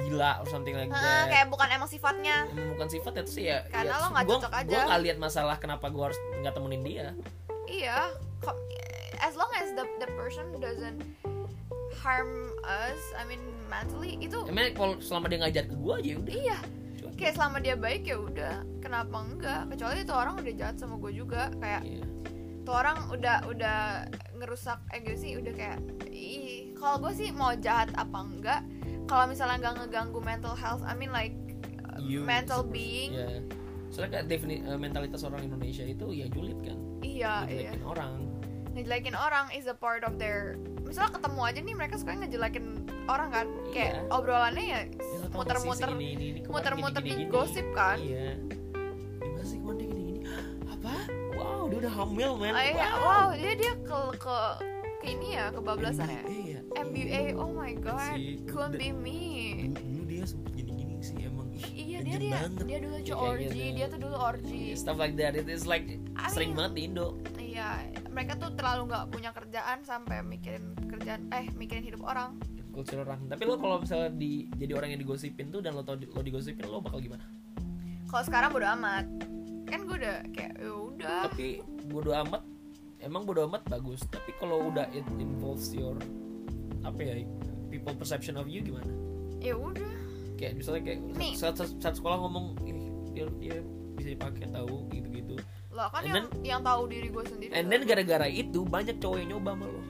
Speaker 1: gila or something like
Speaker 2: Heeh,
Speaker 1: that
Speaker 2: kayak bukan emang sifatnya.
Speaker 1: Emang bukan sifatnya itu sih ya
Speaker 2: Karena
Speaker 1: ya,
Speaker 2: lo nggak
Speaker 1: gua,
Speaker 2: cocok aja.
Speaker 1: gue nggak lihat masalah kenapa gue harus nggak temenin dia
Speaker 2: Iya, kom- as long as the the person doesn't harm us, I mean mentally itu
Speaker 1: emang kalau selama dia ngajar ke gue aja ya udah
Speaker 2: iya.
Speaker 1: cuek.
Speaker 2: Kayak selama dia baik ya udah, kenapa enggak? Kecuali itu orang udah jahat sama gue juga, kayak
Speaker 1: Iya.
Speaker 2: tuh orang udah udah ngerusak ego sih, udah kayak ih, kalau gue sih mau jahat apa enggak? Kalau misalnya nggak ngeganggu mental health, I mean like uh,
Speaker 1: You
Speaker 2: mental
Speaker 1: as a person.
Speaker 2: being,
Speaker 1: Iya. soalnya kayak defini- eh, mentalitas orang Indonesia itu ya julid kan
Speaker 2: iya iya.
Speaker 1: dijelekin orang
Speaker 2: ngejelekin orang is a part of their misalnya ketemu aja nih mereka suka ngejelekin orang kan kayak
Speaker 1: Iya.
Speaker 2: obrolannya ya
Speaker 1: Ya, lo tau gak sih
Speaker 2: muter-muter
Speaker 1: si ini, ini, ini kemarin
Speaker 2: muter-muter
Speaker 1: gini,
Speaker 2: di
Speaker 1: gini,
Speaker 2: gosip kan?
Speaker 1: iya gimana sih kemarin dia gini gini *gasps* apa wow dia udah hamil men
Speaker 2: Ah, iya. wow dia dia ke ke ke ini ya kebablasan ya
Speaker 1: iya
Speaker 2: MBA oh my god
Speaker 1: Si-
Speaker 2: couldn't
Speaker 1: the-
Speaker 2: be me
Speaker 1: dulu, dulu dia sempet gini gini sih emang ih,
Speaker 2: iya dia
Speaker 1: ganjen
Speaker 2: dia
Speaker 1: banget.
Speaker 2: dia dulu
Speaker 1: Kayak
Speaker 2: tuh orgy
Speaker 1: gitu.
Speaker 2: dia tuh dulu orgy
Speaker 1: Iya, stuff like that it is like
Speaker 2: I
Speaker 1: sering
Speaker 2: mean-
Speaker 1: banget di Indo
Speaker 2: iya mereka tuh terlalu nggak punya kerjaan sampai mikirin kerjaan eh mikirin hidup orang
Speaker 1: culture orang tapi lo kalau misalnya di jadi orang yang digosipin tuh dan lo tau di- lo digosipin lo bakal gimana
Speaker 2: kalau sekarang bodo amat kan gue udah kayak ya udah
Speaker 1: tapi bodo amat emang bodo amat bagus tapi kalau udah it involves your apa ya people perception of you gimana
Speaker 2: ya udah
Speaker 1: kayak misalnya kayak
Speaker 2: Nih.
Speaker 1: saat, saat, saat sekolah ngomong ini dia, dia bisa dipakai tahu gitu gitu
Speaker 2: lo kan
Speaker 1: And
Speaker 2: yang yang tahu diri gue sendiri
Speaker 1: and
Speaker 2: tuh. Oh,
Speaker 1: then gara-gara itu banyak cowok yang nyoba sama lo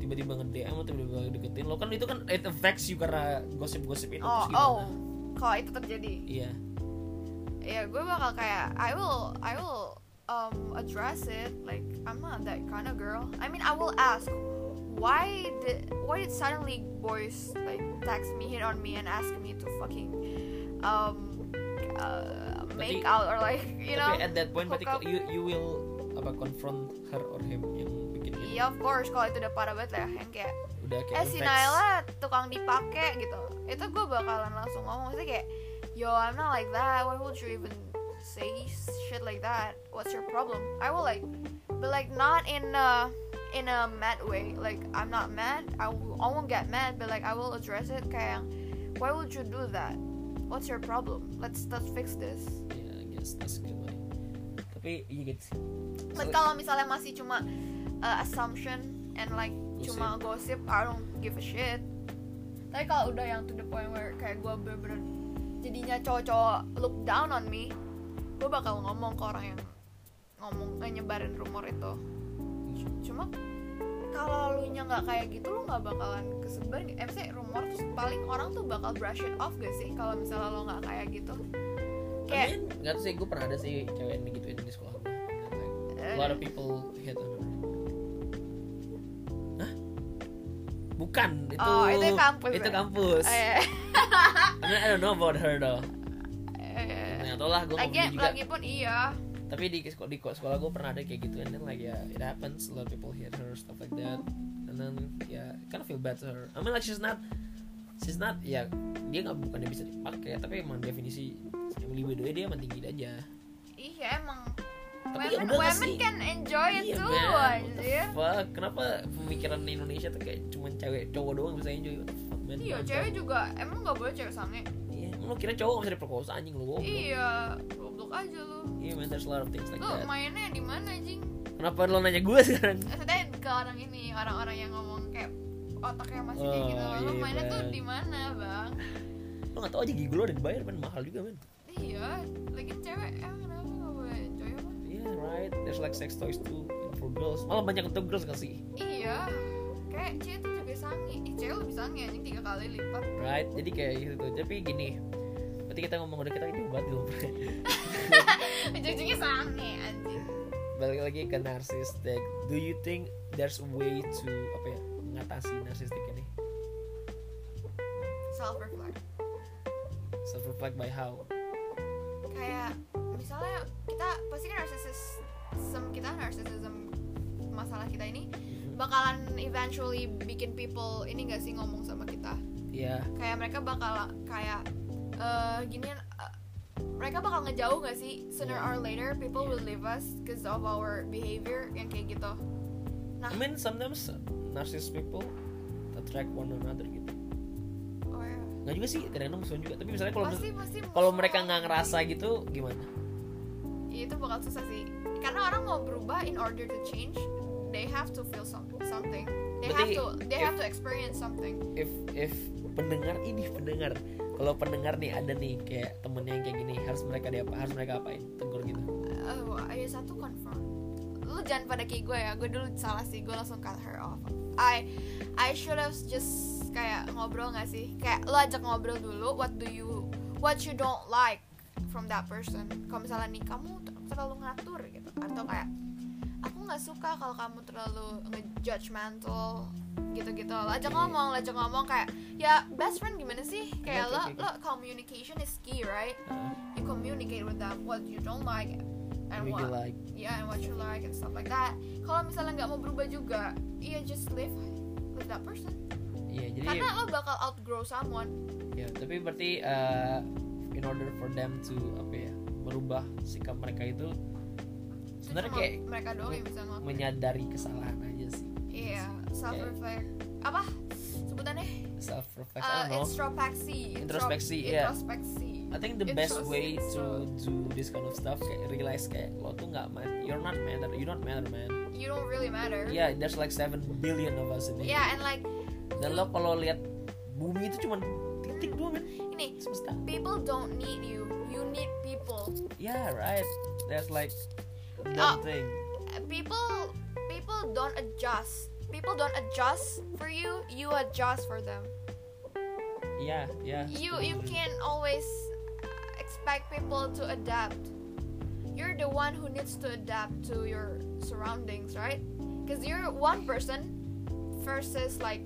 Speaker 1: tiba-tiba nge DM atau tiba-tiba deketin lo kan itu kan it affects you karena gosip-gosip itu
Speaker 2: oh
Speaker 1: terus
Speaker 2: oh
Speaker 1: gimana
Speaker 2: kalau itu terjadi
Speaker 1: iya
Speaker 2: ya gue bakal kayak I will I will um, address it like I'm not that kind of girl I mean I will ask why did why did suddenly boys like text me hit on me and ask me to fucking um uh, make
Speaker 1: Tapi-
Speaker 2: out or like you know
Speaker 1: tapi at that point berarti
Speaker 2: hook up.
Speaker 1: you you will apa confront her or him yang bikin gitu.
Speaker 2: Iya of course kalau itu udah parah banget lah yang kayak
Speaker 1: udah kayak
Speaker 2: eh si
Speaker 1: affects.
Speaker 2: Naila tukang dipake gitu itu gue bakalan langsung ngomong sih kayak yo I'm not like that why would you even say shit like that, what's your problem? I will like, but like not in a in a mad way. Like I'm not mad. I, w- I won't get mad, but like I will address it. Kayak, why would you do that? What's your problem? Let's let's fix this.
Speaker 1: yeah Iya, I guess that's a good way tapi iya gitu you get
Speaker 2: But kalau misalnya masih cuma uh, assumption and like
Speaker 1: Iya
Speaker 2: cuma gosip, I don't give a shit. Tapi kalau udah yang to the point where kayak gue bener-bener jadinya cowok-cowok look down on me, gue bakal ngomong ke orang yang ngomong eh, nyebarin rumor itu. Cuma kalau lu nya nggak kayak gitu lu nggak bakalan kesebar nggak? Eh, maksudnya rumor tuh paling orang tuh bakal brush it off gak sih kalau misalnya lo nggak kayak gitu.
Speaker 1: I
Speaker 2: Kayak
Speaker 1: mean, nggak tahu sih gue pernah ada sih cewek yang digituin di sekolah gue. Like,
Speaker 2: eh,
Speaker 1: a lot of people hit on her. Hah? Bukan, itu
Speaker 2: Oh, itu kampus
Speaker 1: Itu
Speaker 2: ya?
Speaker 1: kampus.
Speaker 2: Oh, iya.
Speaker 1: I, mean, I don't know about her though.
Speaker 2: Eh,
Speaker 1: Nah, tau lah gue
Speaker 2: lagi
Speaker 1: ngomong juga.
Speaker 2: lagi pun iya
Speaker 1: Tapi di sekolah, di sekolah gue pernah ada kayak gitu and then like yeah, it happens. A lot of people hit her stuff like that. And then yeah, I kind of feel bad to her. I mean like she's not she's not ya dia nggak bukan bisa dipakai ya, tapi emang definisi Emily Widow dia emang tinggi aja.
Speaker 2: iya emang
Speaker 1: Tapi ya udah
Speaker 2: women,
Speaker 1: nggak
Speaker 2: women
Speaker 1: sih?
Speaker 2: can enjoy it
Speaker 1: Iya,
Speaker 2: too
Speaker 1: man. What the
Speaker 2: anjir
Speaker 1: Fuck, kenapa pemikiran di Indonesia tuh kayak cuman cewek cowok doang bisa enjoy? What the fuck, man?
Speaker 2: iya cewek juga emang nggak boleh cewek sange
Speaker 1: Iya, lu kira cowok nggak bisa diperkosa anjing lu? goblok.
Speaker 2: iya Oh, goblok aja lu
Speaker 1: Iya, man, there's a lot of things like
Speaker 2: lu
Speaker 1: that.
Speaker 2: mainnya di mana anjing
Speaker 1: Kenapa lo nanya gue *laughs* sekarang?
Speaker 2: maksudnya ke orang ini orang-orang yang ngomong kayak otaknya masih kayak
Speaker 1: Oh,
Speaker 2: gitu lu
Speaker 1: iya,
Speaker 2: mainnya tuh
Speaker 1: Bang.
Speaker 2: di mana bang
Speaker 1: Lo nggak tahu aja gigi lo udah dibayar, man, mahal juga, man.
Speaker 2: iya lagi cewek emang kenapa nggak boleh enjoy emang?
Speaker 1: Iya, right. There's like sex toys too for girls. Malah banyak untuk girls nggak sih?
Speaker 2: iya kayak cewek tuh juga sange Ih, cewek lebih sange anjing tiga kali lipat *laughs*
Speaker 1: Right. Jadi kayak gitu. tuh. Tapi gini, berarti kita ngomong udah kita ini banget dulu.
Speaker 2: ujung-ujungnya sange anjing
Speaker 1: *laughs* Balik lagi ke narcissistic. Do you think there's a way to apa ya mengatasi narcissistic ini?
Speaker 2: self reflect
Speaker 1: Self reflect by how?
Speaker 2: kayak misalnya kita pasti kan narcissism kita narcissism masalah kita ini bakalan eventually bikin people ini gak sih ngomong sama kita
Speaker 1: Iya.
Speaker 2: kayak mereka bakal kayak eh gini mereka bakal ngejauh gak sih sooner or later people will leave us because of our behavior yang kayak gitu
Speaker 1: I
Speaker 2: nah
Speaker 1: mean sometimes narcissist people attract one another gitu.
Speaker 2: or,
Speaker 1: Nggak juga sih, kadang-kadang musuhan juga. Tapi misalnya kalau
Speaker 2: oh ya. pasti pasti
Speaker 1: kalau
Speaker 2: semua
Speaker 1: mereka
Speaker 2: orang-
Speaker 1: nggak ngerasa gitu gimana?
Speaker 2: Iya, itu bakal susah sih karena orang mau berubah in order to change they have to feel some, something they have
Speaker 1: Berarti
Speaker 2: to they
Speaker 1: if-
Speaker 2: have to experience something
Speaker 1: If if pendengar ini pendengar kalau pendengar nih ada nih kayak temennya yang kayak gini harus mereka diapa harus mereka apain tegur gitu
Speaker 2: oh ayo satu confirm lu jangan pada kayak gue ya gue dulu salah sih gue langsung cut her off I I should have just kayak ngobrol gak sih kayak lu ajak ngobrol dulu what do you what you don't like from that person kalau misalnya nih kamu ter- terlalu ngatur gitu atau kayak aku nggak suka kalau kamu terlalu ngejudgmental gitu-gitu lo ajak
Speaker 1: Oke.
Speaker 2: ngomong lo ajak ngomong kayak ya best friend gimana sih
Speaker 1: Oke,
Speaker 2: kayak lo
Speaker 1: oke, oke.
Speaker 2: lo communication is key right
Speaker 1: Nah,
Speaker 2: you communicate with them what you don't like and
Speaker 1: we
Speaker 2: what
Speaker 1: be like
Speaker 2: yeah and what you like and stuff like that kalau misalnya nggak mau berubah juga iya just live with that person
Speaker 1: iya jadi
Speaker 2: karena lo bakal outgrow someone
Speaker 1: ya tapi berarti uh, in order for them to apa ya merubah sikap mereka itu
Speaker 2: Itu
Speaker 1: sebenarnya
Speaker 2: cuma
Speaker 1: kayak
Speaker 2: mereka doang yang bisa ngelakuin
Speaker 1: menyadari kesalahan aja sih
Speaker 2: iya self reflect apa sebutannya
Speaker 1: self reflect I
Speaker 2: uh,
Speaker 1: don't know
Speaker 2: introspeksi
Speaker 1: Introspeksi,
Speaker 2: Intro-
Speaker 1: iya.
Speaker 2: introspeksi
Speaker 1: I think the
Speaker 2: It's
Speaker 1: best
Speaker 2: so-
Speaker 1: way
Speaker 2: it's
Speaker 1: to
Speaker 2: so-
Speaker 1: do this kind of stuff kayak realize kayak lo tuh nggak man, you're not matter, you not matter man.
Speaker 2: you don't really matter
Speaker 1: Yeah, there's like 7 billion of us in here.
Speaker 2: Yeah, and like
Speaker 1: Dan lo kalau lihat bumi itu cuman titik doang kan
Speaker 2: ini
Speaker 1: semesta.
Speaker 2: people don't need you you need people
Speaker 1: Yeah, Ya, right. There's like
Speaker 2: Oh.
Speaker 1: that thing.
Speaker 2: people people don't adjust people don't adjust for you you adjust for them
Speaker 1: Yeah, yeah.
Speaker 2: you you can't always expect people to adapt you're the one who needs to adapt to your surroundings right because you're one person versus like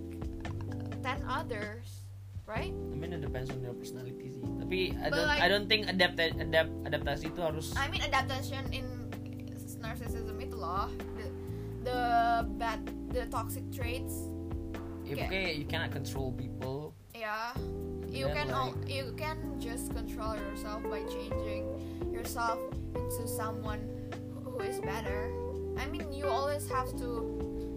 Speaker 2: 10 others right
Speaker 1: I mean it depends on your personality sih. Tapi I
Speaker 2: But
Speaker 1: don't
Speaker 2: like-
Speaker 1: I don't think adapt adapt adaptasi itu harus
Speaker 2: i mean adaptation in narcissism itu loh the, the bad the toxic traits
Speaker 1: ya, pokoknya you cannot control people.
Speaker 2: yeah you
Speaker 1: And
Speaker 2: can
Speaker 1: like-
Speaker 2: all, you can just control yourself by changing yourself into someone who is better. I mean, you always have to.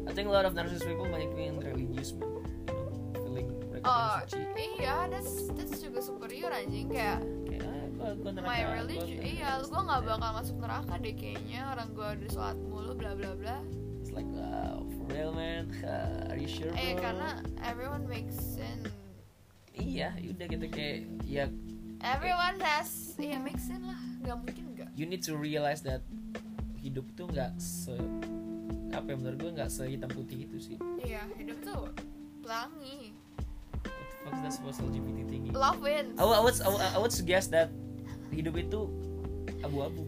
Speaker 1: I think a lot of narcissist people banyak yang religious man, you know, feeling mereka paling
Speaker 2: Uh,
Speaker 1: suci.
Speaker 2: iya, that's that's juga superior anjing kayak
Speaker 1: Kayak ah, gua, gua neraka. gua
Speaker 2: my
Speaker 1: gitu
Speaker 2: religion.
Speaker 1: neraka.
Speaker 2: Iya, gua nggak bakal masuk neraka deh kayaknya orang gua di sholat mulu bla bla bla. Eh,
Speaker 1: It's like wow, for real man, Ah, are you sure?
Speaker 2: Eh
Speaker 1: bro?
Speaker 2: karena everyone makes sin.
Speaker 1: iya, udah gitu kayak ya
Speaker 2: Everyone has ya make sin lah. Gak mungkin gak.
Speaker 1: you need to realize that hidup tuh nggak se apa ya menurut gue nggak sehitam putih itu sih.
Speaker 2: Iya, hidup itu pelangi.
Speaker 1: What the fuck is that supposed LGBT thingy?
Speaker 2: Love wins.
Speaker 1: I would, I would, I would, I would suggest that hidup itu abu-abu,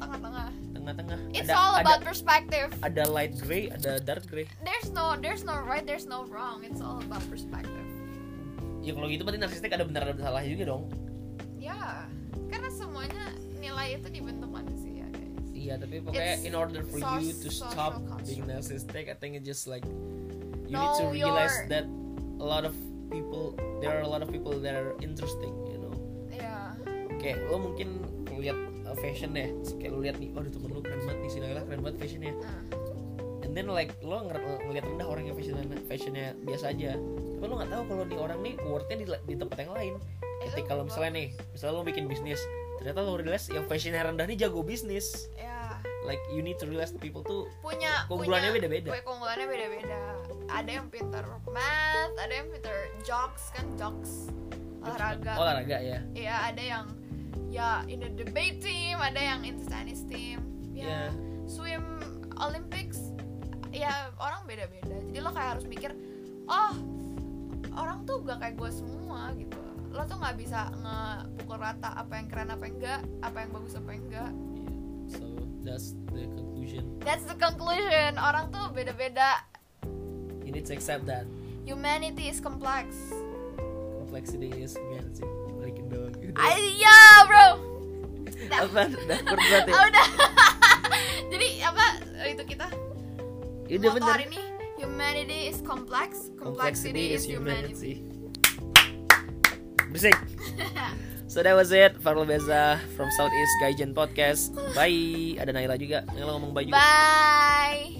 Speaker 2: Tengah-tengah.
Speaker 1: tengah-tengah.
Speaker 2: It's
Speaker 1: ada,
Speaker 2: all about
Speaker 1: ada,
Speaker 2: perspective.
Speaker 1: ada light gray, ada dark gray.
Speaker 2: There's no there's no right, there's no wrong. It's all about perspective.
Speaker 1: Ya kalau gitu berarti narsistik ada benar ada salah juga dong.
Speaker 2: Ya, karena semuanya nilai itu dibentuk manusia, guys.
Speaker 1: Iya, tapi pokoknya
Speaker 2: It's
Speaker 1: in order for you to
Speaker 2: sos-
Speaker 1: stop
Speaker 2: social construct.
Speaker 1: being narcissistic, I think it's just like you need
Speaker 2: Know
Speaker 1: to realize
Speaker 2: your-
Speaker 1: that a lot of people there are a lot of people that are interesting, you know.
Speaker 2: Ya.
Speaker 1: Kayak lo mungkin lihat uh, fashion ya, kayak lo lihat nih, waduh temen lo keren banget nih, si Naila keren banget fashionnya.
Speaker 2: Nah,
Speaker 1: And then like lo nger- ngeliat rendah orang yang fashion fashionnya biasa aja, tapi lo nggak tahu kalau nih orang nih worthnya di, di tempat yang lain.
Speaker 2: itu
Speaker 1: Ketika lo misalnya nih, misalnya lo bikin bisnis, ternyata lo realize yang fashionnya rendah nih jago bisnis.
Speaker 2: ya
Speaker 1: Like you need to realize people tuh
Speaker 2: punya
Speaker 1: Keunggulannya
Speaker 2: punya-
Speaker 1: beda-beda.
Speaker 2: punya keunggulannya beda-beda. Ada yang pintar math, ada yang pintar jocks kan jocks olahraga.
Speaker 1: olahraga ya.
Speaker 2: Iya, ada yang ya in the debate team, ada yang in the tennis team.
Speaker 1: Iya.
Speaker 2: Ya, swim Olympics. Ya, orang beda-beda. Jadi lo kayak harus mikir, "Oh, orang tuh gak kayak gue semua." gitu. Lo tuh nggak bisa ngepukul rata apa yang keren apa yang enggak, apa yang bagus apa yang enggak.
Speaker 1: Yeah. So that's the conclusion.
Speaker 2: That's the conclusion. Orang tuh beda-beda.
Speaker 1: You need to accept that
Speaker 2: Humanity is complex.
Speaker 1: complexity is humanity. Balikin dong.
Speaker 2: Ah, Iya, bro. Dah.
Speaker 1: Apa? Udah berat ya?
Speaker 2: Ah, udah. *laughs* Jadi apa itu kita
Speaker 1: Udah
Speaker 2: Motto
Speaker 1: bener.
Speaker 2: hari ini humanity is complex,
Speaker 1: Complexity
Speaker 2: complexity, is humanity.
Speaker 1: Bersih. So that was it. Farul Beza from Southeast Gaijin Podcast. Bye. Ada Naila juga. Naila ngomong bye juga.
Speaker 2: Bye.